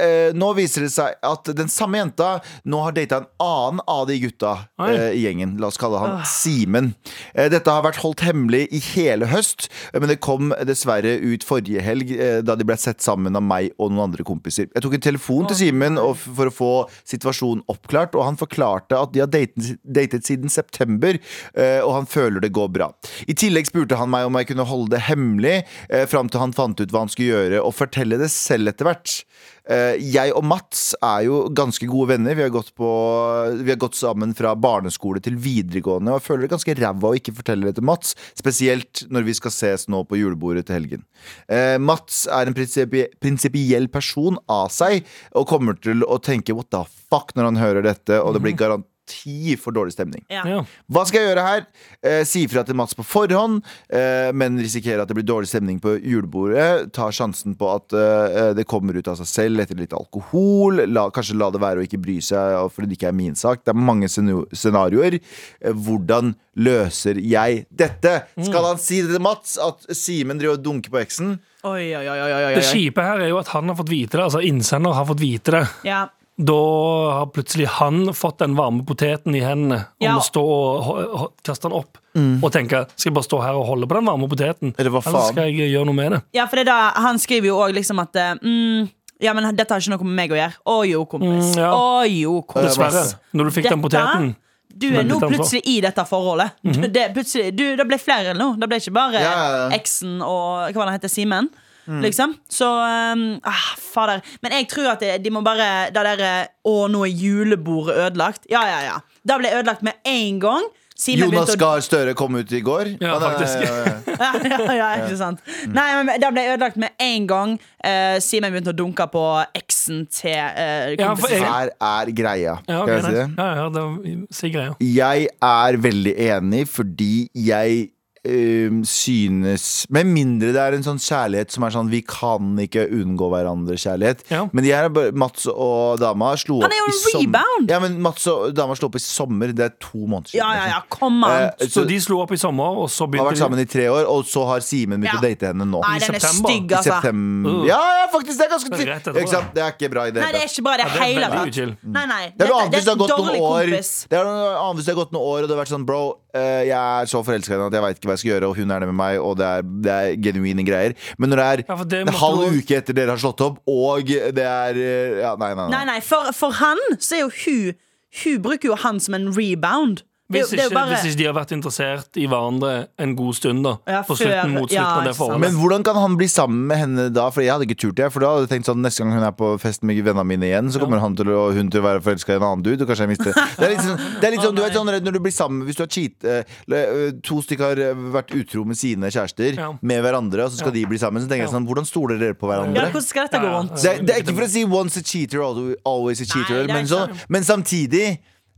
Speaker 3: eh, nå viser det seg at den samme jenta nå har data en annen av de gutta
Speaker 2: Oi.
Speaker 3: eh, i gjengen. La oss kalle han Simen. Eh, dette har vært holdt hemmelig i hele høst, eh, men det kom dessverre ut forrige helg eh, da de ble sett sammen av meg og noen andre kompiser. Jeg tok en telefon til Simen og f- for å få situasjonen oppklart, og han forklarte at de har datet, datet siden september, eh, og han føler det går bra. I tillegg spurte han meg om jeg kunne holde det hemmelig eh, fram til han fant ut hva han skulle gjøre, og fortelle det selv etter hvert. Eh, Jeg og Mats er jo ganske gode venner. Vi har gått, på, vi har gått sammen fra barneskole til videregående. Og jeg føler det ganske ræva å ikke fortelle det til Mats, spesielt når vi skal ses nå på julebordet til helgen. Eh, Mats er en prinsipi- prinsipiell person av seg og kommer til å tenke what the fuck når han hører dette, og det blir garanti for dårlig stemning.
Speaker 4: Ja.
Speaker 2: Ja.
Speaker 3: Hva skal jeg gjøre her? Eh, si fra til Mats på forhånd, eh, men risikere at det blir dårlig stemning på julebordet. Ta sjansen på at eh, det kommer ut av seg selv etter litt alkohol. La, kanskje la det være å ikke bry seg og for det ikke er min sak. Det er mange senu- scenarioer. Eh, hvordan løser jeg dette? Skal han si det til Mats, at Simen driver og dunker på eksen?
Speaker 4: Oi, oi, oi, oi, oi,
Speaker 2: Det
Speaker 4: oi.
Speaker 2: kjipe her er jo at han har fått vite det. Altså Innsender har fått vite det.
Speaker 4: Ja.
Speaker 2: Da har plutselig han fått den varme poteten i hendene og
Speaker 4: Ja.
Speaker 2: må stå og ho- ho- kaste den opp og tenke skal jeg bare stå her og holde på den varme poteten,
Speaker 3: Eller Mm. hva faen?
Speaker 2: skal jeg gjøre noe med det?
Speaker 4: ja, for det er da, han skriver jo òg liksom at eh, mm, Ja, men dette har ikke noe med meg å gjøre. Å jo,
Speaker 2: Mm,
Speaker 4: kompis. Å
Speaker 2: ja.
Speaker 4: jo, kompis.
Speaker 2: Dessverre. Når du fikk den poteten.
Speaker 4: Du er
Speaker 2: Men
Speaker 4: nå
Speaker 2: litt ansvar.
Speaker 4: plutselig i dette forholdet.
Speaker 2: Mhm.
Speaker 4: det, plutselig, du, det ble flere nå. Det ble ikke bare
Speaker 3: Ja, Mm. ja, ja.
Speaker 4: eksen og hva var det han heter, Simen. Liksom. Så um, ah, Fader. Men jeg tror at det, de må bare Det der eh, Å, nå er julebordet ødelagt. Ja, ja, ja. Det ble ødelagt med én gang. Simen
Speaker 3: Jonas
Speaker 4: begynte å-
Speaker 3: Gahr Støre kom ut i går.
Speaker 2: Ja,
Speaker 3: Han er-
Speaker 2: faktisk.
Speaker 4: ja, ja, ja, ikke sant
Speaker 3: Mm.
Speaker 4: Nei, men Det ble ødelagt med én gang. Eh, Simen begynte å dunke på eksen til eh,
Speaker 2: Ja, for
Speaker 4: kompisen sin.
Speaker 2: jeg-
Speaker 3: Her er greia.
Speaker 2: Ja,
Speaker 3: Skal
Speaker 2: ok,
Speaker 3: jeg si
Speaker 2: nei.
Speaker 3: det?
Speaker 2: ja, ja, det var- si greia.
Speaker 3: Jeg er veldig enig fordi jeg øhm, synes Med mindre det er en sånn kjærlighet som er sånn vi kan ikke unngå hverandre-kjærlighet.
Speaker 2: Ja.
Speaker 3: Men de her er bare Mats og dama slo
Speaker 4: Han
Speaker 3: opp
Speaker 4: er jo
Speaker 3: i
Speaker 4: en
Speaker 3: sommer.
Speaker 4: rebound!
Speaker 3: Ja, men Mats og dama slo opp i sommer. Det er to måneder siden.
Speaker 4: Ja, ja, ja, kom an!
Speaker 3: Eh,
Speaker 2: Så
Speaker 3: så
Speaker 2: de slo opp i sommer, og så
Speaker 3: de har
Speaker 2: begynte
Speaker 3: vært sammen i tre år, og så har Simen begynt
Speaker 4: Ja.
Speaker 3: å date henne nå.
Speaker 4: Nei, den er
Speaker 2: september.
Speaker 4: stygg,
Speaker 3: I
Speaker 4: altså.
Speaker 3: september.
Speaker 2: Uh.
Speaker 3: Ja, ja, faktisk! Det er ganske
Speaker 2: Rett etterpå,
Speaker 3: Ikke sant? Det er ikke bra i det
Speaker 4: Nei,
Speaker 3: hele
Speaker 4: det
Speaker 3: tatt.
Speaker 4: er ikke bra. Det
Speaker 2: Ja,
Speaker 4: er
Speaker 2: det er
Speaker 4: hele
Speaker 2: veldig
Speaker 4: tatt.
Speaker 2: uchill.
Speaker 4: Nei, nei.
Speaker 3: Det er noe
Speaker 4: Dette-
Speaker 3: annet hvis det har gått noen
Speaker 4: dårlig
Speaker 3: år
Speaker 4: kompis.
Speaker 3: Det er noe annet hvis det har gått noen år Og det har vært sånn, bro, eh, jeg er så forelsket i henne At jeg vet ikke hva jeg skal gjøre, og hun er det med meg Og det er, det er genuine greier Men når det er
Speaker 2: Ja, for det
Speaker 3: en
Speaker 2: måtte
Speaker 3: halv
Speaker 2: du-
Speaker 3: uke etter dere har slått opp Og det er, eh, ja, nei, nei,
Speaker 4: Nei,
Speaker 3: nei,
Speaker 4: nei, for, for han så er jo hun Hun bruker jo han som en rebound. Det, er jo-
Speaker 2: Hvis
Speaker 4: det er
Speaker 2: ikke,
Speaker 4: jo bare
Speaker 2: hvis ikke de har vært interessert i hverandre en god stund, da.
Speaker 4: Ja,
Speaker 2: på
Speaker 4: før-
Speaker 2: slutten, mot slutten
Speaker 4: ja,
Speaker 2: av det
Speaker 4: ikke sant.
Speaker 2: forholdet.
Speaker 3: Men hvordan kan han bli sammen med henne da? For jeg hadde ikke turt det For da hadde jeg tenkt sånn, neste gang hun er på fest med vennene mine igjen Så kommer han til å, hun til å være forelsket i en annen dude Og kanskje jeg mister Det er litt sånn, det er litt
Speaker 4: Å,
Speaker 3: sånn du
Speaker 4: nei.
Speaker 3: vet sånn redd når du blir sammen Hvis du har cheat eh, le- eh, To stykker har eh, vært utro med sine kjærester
Speaker 2: Ja.
Speaker 3: Med hverandre, og så skal de bli sammen Så tenker jeg sånn, hvordan stoler dere på hverandre?
Speaker 4: ja, Hvordan skal dette gå
Speaker 2: Ja, ja.
Speaker 4: rundt?
Speaker 3: Det, er- det er ikke for å si 'once a cheater, al- always a cheater',
Speaker 4: det er
Speaker 3: men,
Speaker 4: ikke sånn.
Speaker 3: så, men samtidig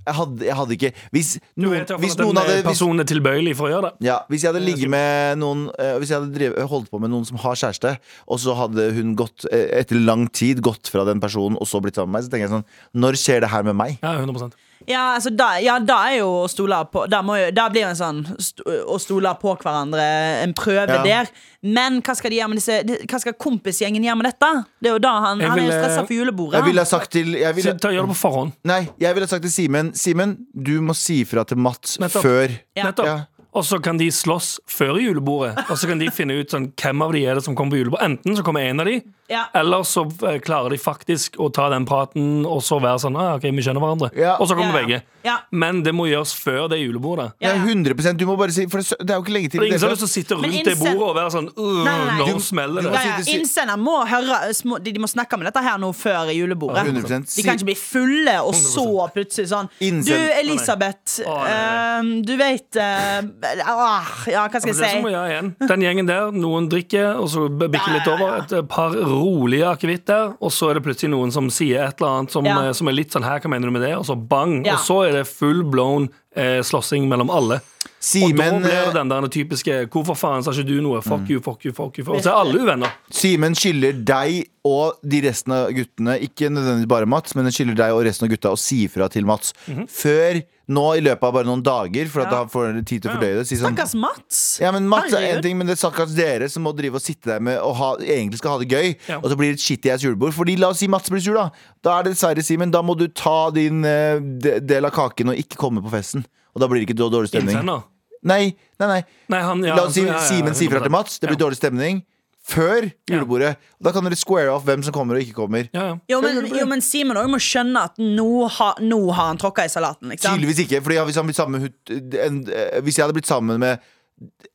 Speaker 3: jeg hadde, jeg hadde ikke Hvis
Speaker 2: Du
Speaker 3: noen,
Speaker 2: vet iallfall
Speaker 3: hvis
Speaker 2: at den
Speaker 3: noen hadde hvis,
Speaker 2: personen er tilbøyelig for å gjøre det.
Speaker 3: ja, hvis jeg hadde ligget med noen eh, Hvis jeg hadde drevet, holdt på med noen som har kjæreste, og så hadde hun gått eh, etter lang tid gått fra den personen og så blitt sammen med meg, så tenker jeg sånn Når skjer det her med meg?
Speaker 2: Ja, 100
Speaker 4: Ja, altså, da, ja, da er jo å stole på Da, må jo, da blir jo en sånn st å stole på hverandre en prøve
Speaker 3: Ja.
Speaker 4: der. Men hva skal, de gjøre med disse, de- hva skal kompisgjengen gjøre med dette? Det er jo da Han,
Speaker 2: Jeg
Speaker 4: han er jo
Speaker 2: ville-
Speaker 4: stressa for julebordet.
Speaker 3: Jeg ville ha sagt til jeg
Speaker 2: Så
Speaker 3: ville,
Speaker 2: ta, gjør det på forhånd.
Speaker 3: Nei, jeg ville ha sagt til Simen Simen, du må si fra til Mats
Speaker 2: Nettopp.
Speaker 3: før
Speaker 4: Ja.
Speaker 2: Nettopp.
Speaker 3: Ja.
Speaker 2: Og så kan de slåss før julebordet. Og så kan de finne ut sånn, hvem av de er det som kommer på julebord. Enten så kommer en av de,
Speaker 4: Ja.
Speaker 2: eller så eh, klarer de faktisk å ta den praten og så være sånn ah, OK, vi kjenner hverandre.
Speaker 3: Ja.
Speaker 2: Og så kommer
Speaker 4: Ja, ja.
Speaker 2: begge.
Speaker 4: Ja.
Speaker 2: Men det må gjøres før det julebordet.
Speaker 4: Ja, ja.
Speaker 3: Det er 100 Du må bare si For det, det er jo ikke lenge til.
Speaker 2: For det er ingen som har
Speaker 3: det-
Speaker 2: lyst til å sitte
Speaker 4: Men
Speaker 2: rundt det
Speaker 4: innse-
Speaker 2: bordet og være sånn «Øh,
Speaker 4: Nei, nei, nei.
Speaker 2: Nå
Speaker 4: Du-
Speaker 2: smeller
Speaker 3: du
Speaker 2: det.
Speaker 3: må
Speaker 4: Ja, ja.
Speaker 3: sitte si-
Speaker 4: Innsender må høre små, de, de må snakke med dette her nå før julebordet.
Speaker 3: 100%.
Speaker 4: De kan ikke bli fulle, og så plutselig sånn
Speaker 3: Innsend-
Speaker 4: Du, Elisabeth,
Speaker 2: Å, nei, nei,
Speaker 4: ehm, du vet eh, ah, Ja, hva skal
Speaker 2: Men
Speaker 4: jeg
Speaker 2: det er som å
Speaker 4: si?
Speaker 2: gjøre igjen. Den gjengen der, noen drikker, og så b- bikker litt over. Et par rolige akevitt der, og så er det plutselig noen som sier et eller annet som,
Speaker 4: Ja.
Speaker 2: eh, som er litt sånn her, hva mener du med det? Og så bang,
Speaker 4: Ja.
Speaker 2: og så er det full blown eh, slåssing mellom alle. Og da
Speaker 3: Simen,
Speaker 2: blir
Speaker 3: eh,
Speaker 2: det
Speaker 3: Mm.
Speaker 2: den der typiske 'hvorfor faen sa ikke du noe', fuck you, fuck you, fuck you. fuck you». Og så er alle uvenner.
Speaker 3: Simen skylder deg og de resten av guttene, ikke nødvendigvis bare Mats, men den skylder deg og resten av gutta å si ifra til Mats
Speaker 4: Mhm.
Speaker 3: før nå i løpet av bare noen dager, for at da får dere tid til å fordøye det. Si sånn
Speaker 4: Stakkars Mats.
Speaker 3: ja, men Mats er en
Speaker 4: Herregud.
Speaker 3: ting, men det er stakkars dere som må drive og sitte der med og ha, egentlig skal ha det gøy,
Speaker 2: Ja.
Speaker 3: og så blir det et shitty ass julebord. Fordi la oss si Mats blir sur, da. Da er det dessverre, Simen, da må du ta din eh, de- del av kaken og ikke komme på festen. Og da blir det ikke dårlig stemning.
Speaker 2: Innsender.
Speaker 3: Nei, nei, nei.
Speaker 2: Nei, han, ja, altså,
Speaker 3: La oss si
Speaker 2: ja, ja, ja,
Speaker 3: Simen sier fra til Mats. Det blir
Speaker 2: ja.
Speaker 3: dårlig stemning før
Speaker 2: Ja.
Speaker 3: julebordet. Og da kan dere square off hvem som kommer og ikke kommer.
Speaker 2: Ja, ja.
Speaker 4: Jo, men, jo, men Simen òg må skjønne at nå, ha, nå har han tråkka i salaten. Ikke sant?
Speaker 3: Tydeligvis ikke. Fordi hvis, han blir sammen med, hun- en, eh, hvis jeg hadde blitt sammen med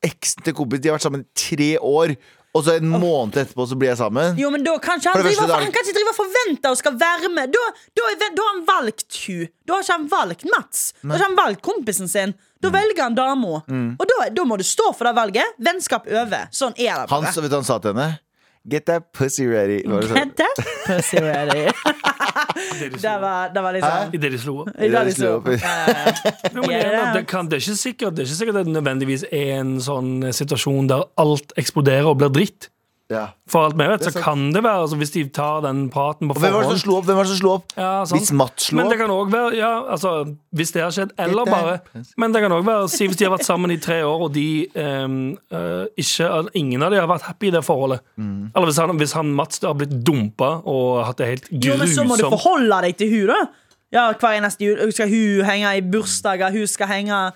Speaker 3: eksen til kompis De har vært sammen i tre år. og så en måned etterpå så blir jeg sammen.
Speaker 4: Jo, men da kan ikke han,
Speaker 3: For det første,
Speaker 4: drive,
Speaker 3: da er det-
Speaker 4: han kan ikke drive og forvente å skal være med. Da, da, er, da har han valgt hun Da har ikke han valgt Mats. Da har ikke han valgt kompisen sin.
Speaker 3: Mm.
Speaker 4: Da velger han dama. Og da, da må du stå for det valget. Vennskap over. Sånn er det
Speaker 3: Han,
Speaker 4: bare.
Speaker 3: vet du, han sa til henne Get that pussy ready. Var det sånn?
Speaker 4: Hedde? Pussy ready.
Speaker 2: Det de
Speaker 4: Det
Speaker 2: slo
Speaker 4: var, det var liksom
Speaker 2: I det de slo opp.
Speaker 4: Det var
Speaker 3: Det slo
Speaker 4: liksom-
Speaker 3: opp i-
Speaker 2: Jo, men igjen, da, det, kan, det, er ikke sikkert, det er ikke sikkert at det nødvendigvis er en sånn eh, situasjon der alt eksploderer og blir dritt.
Speaker 3: Ja.
Speaker 2: For alt vi vet,
Speaker 3: Det er
Speaker 2: så
Speaker 3: sant.
Speaker 2: kan det være altså, Hvis de tar den praten på
Speaker 3: Og hvem var det som
Speaker 2: forhånd
Speaker 3: slo opp? Hvem var det som slo opp?
Speaker 2: ja, sant.
Speaker 3: Hvis Mats slo
Speaker 2: Men det
Speaker 3: opp?
Speaker 2: kan også være ja, altså, Hvis det har skjedd, eller
Speaker 3: Dette er-
Speaker 2: bare Men det kan òg være si hvis de har vært sammen i tre år, og de ehm, eh, ikke at Ingen av de har vært happy i det forholdet.
Speaker 3: Mm.
Speaker 2: Eller hvis han, hvis han Mats har blitt dumpa og hatt det helt
Speaker 4: Jo, men så må du
Speaker 2: grusomt.
Speaker 4: forholde deg til hun da. Ja, hver eneste jul. Skal hun henge i bursdager? Hun skal henge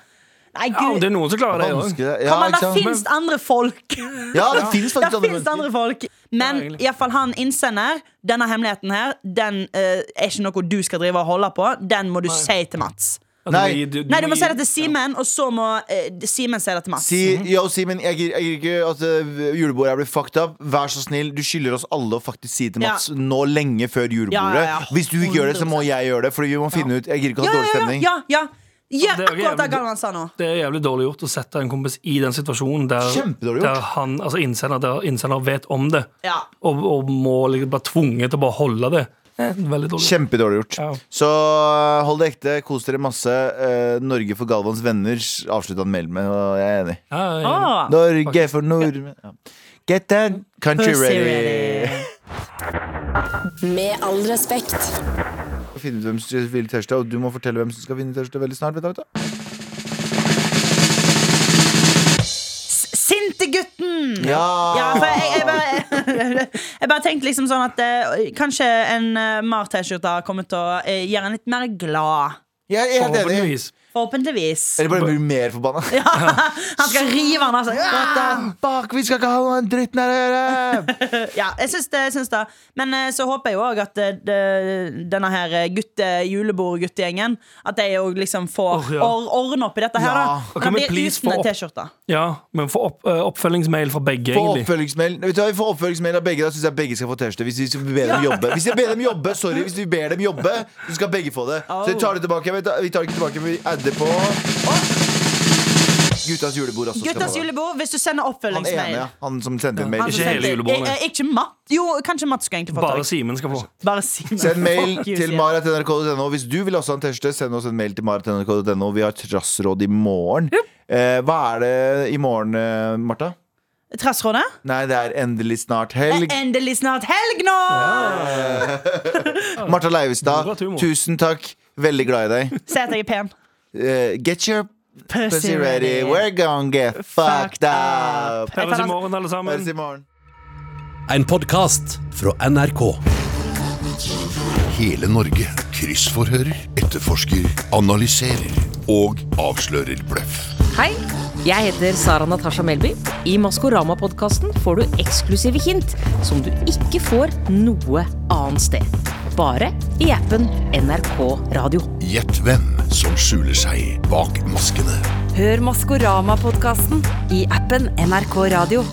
Speaker 4: Nei,
Speaker 2: Ja,
Speaker 4: gud.
Speaker 2: det er noen som klarer det òg.
Speaker 3: Vanskelig. Ja,
Speaker 4: Kan man,
Speaker 3: ikke
Speaker 4: der
Speaker 3: sant?
Speaker 4: finnes andre folk.
Speaker 3: ja, det sånn fins
Speaker 4: Der
Speaker 3: faktisk andre
Speaker 4: finnes
Speaker 3: mennesker.
Speaker 4: andre folk.
Speaker 2: Ja,
Speaker 4: Men
Speaker 2: egentlig.
Speaker 4: i hvert fall han innsender denne hemmeligheten her, den eh, er ikke noe du skal drive og holde på. Den må du si til Mats.
Speaker 2: Altså,
Speaker 3: Nei.
Speaker 4: Nei, du må si det til Simen, og så må eh, Simen si det til Mats.
Speaker 3: Si, yo, Simen, jeg gir jeg gir ikke at eh, julebordet her blir fucked up. Vær så snill, du skylder oss alle å faktisk si det til
Speaker 4: Ja.
Speaker 3: Mats nå lenge før
Speaker 4: Ja,
Speaker 3: julebordet.
Speaker 4: ja, ja.
Speaker 3: Hvis du ikke gjør det, så må jeg gjøre det. Fordi vi må finne ut Jeg gir ikke å
Speaker 4: Ja,
Speaker 3: ha dårlig
Speaker 4: ja, ja.
Speaker 3: stemning.
Speaker 4: ja, ja. Gjør
Speaker 2: Det er jo
Speaker 4: akkurat det
Speaker 2: jævlig-
Speaker 4: Galvan sa nå.
Speaker 2: Det er jævlig dårlig gjort å sette en kompis i den situasjonen der,
Speaker 3: Kjempedårlig gjort.
Speaker 2: der han, altså innsender, der innsender vet om det,
Speaker 4: Ja.
Speaker 2: og, og må liksom bli tvunget til å bare holde det. Eh, Veldig dårlig.
Speaker 3: Kjempedårlig gjort.
Speaker 2: Ja.
Speaker 3: Så eh, hold det ekte, kos dere masse. Eh, Norge for Galvans venner avslutta han mailen med, og jeg er enig.
Speaker 2: Ja, ja, ja.
Speaker 4: Ah.
Speaker 3: Norge for nordmenn ja. Get that country
Speaker 4: Pussy
Speaker 3: ready.
Speaker 4: ready.
Speaker 5: Med all respekt.
Speaker 3: Å Finne ut hvem som skal vinne tørste, og du må fortelle hvem som skal vinne tørste veldig snart. Vet du, vet du.
Speaker 4: Sintegutten! Ja,
Speaker 3: Ja.
Speaker 4: for jeg, jeg, bare, jeg bare tenkte liksom sånn at eh, kanskje en eh, Mar-T-skjorte har kommet til å eh, gjøre en litt mer glad.
Speaker 3: Jeg er helt enig.
Speaker 2: Forhåpentligvis.
Speaker 4: Forhåpentligvis.
Speaker 3: Eller bare blir mer forbanna.
Speaker 4: Han skal rive den av seg.
Speaker 3: Satan, Bak, vi skal ikke ha noen dritten her å gjøre!
Speaker 4: Ja, jeg syns det. Jeg syns det. Men eh, så håper jeg òg at eh, det- denne her eh, gutte julebordguttegjengen At de òg liksom får
Speaker 2: Åh, ja.
Speaker 4: or ordne opp i dette her.
Speaker 3: Ja.
Speaker 4: Da.
Speaker 2: Og kan vi
Speaker 4: Det blir
Speaker 2: please
Speaker 4: uten
Speaker 2: få
Speaker 4: en
Speaker 2: opp-
Speaker 4: T-skjorte.
Speaker 2: Ja, men få opp, eh, oppfølgingsmail fra begge,
Speaker 3: Få
Speaker 2: egentlig.
Speaker 3: oppfølgingsmail Vet du hva, vi får oppfølgingsmail av begge. Da syns jeg begge skal få T-skjorte. Hvis, hvis vi ber dem jobbe. Hvis vi ber dem jobbe, sorry, hvis vi ber dem jobbe, så skal begge få det. Så vi tar det tilbake. Vi tar, vi tar det ikke tilbake, men vi adder på Guttas julebord også. skal
Speaker 4: Guttas
Speaker 3: få det.
Speaker 4: julebord, hvis du sender
Speaker 3: Han ene,
Speaker 4: oppfølgingsmail.
Speaker 3: ja. Han som sendte en mail.
Speaker 4: Han som
Speaker 2: Ikke hele
Speaker 4: sendte-
Speaker 2: julebordet.
Speaker 4: Eh, eh, Ikke Matt. Jo, kanskje Matt skulle egentlig fått
Speaker 2: Bare
Speaker 4: det.
Speaker 2: Simen skal få.
Speaker 4: Bare Simen.
Speaker 3: Send mail
Speaker 4: Fuck you,
Speaker 3: til
Speaker 4: Simen.
Speaker 3: mara.nrk.no. Hvis du vil også ha en T-skjorte, send oss en mail til mara.nrk.no. Vi har trassråd i morgen. Eh, hva er det i morgen, eh, Martha?
Speaker 4: Trassrådet?
Speaker 3: Nei, det er endelig snart helg.
Speaker 4: Endelig snart helg nå!
Speaker 3: Martha Leivestad,
Speaker 2: Bra humor.
Speaker 3: tusen takk. Veldig glad i deg.
Speaker 4: Se at jeg er pen.
Speaker 3: Eh, get your pussy ready. We're gonna get fucked
Speaker 4: Fucked
Speaker 3: up.
Speaker 4: up.
Speaker 2: Høres i morgen, alle sammen.
Speaker 3: Høres i morgen.
Speaker 7: En podkast fra NRK.
Speaker 8: Hele Norge kryssforhører, etterforsker, analyserer og avslører bløff.
Speaker 9: Hei, jeg heter Sara Natasha Melby. I Maskorama-podkasten får du eksklusive hint som du ikke får noe annet sted. Bare i appen NRK Radio.
Speaker 8: Gjett hvem som skjuler seg bak maskene.
Speaker 1: Hør Maskorama-podkasten i appen NRK Radio.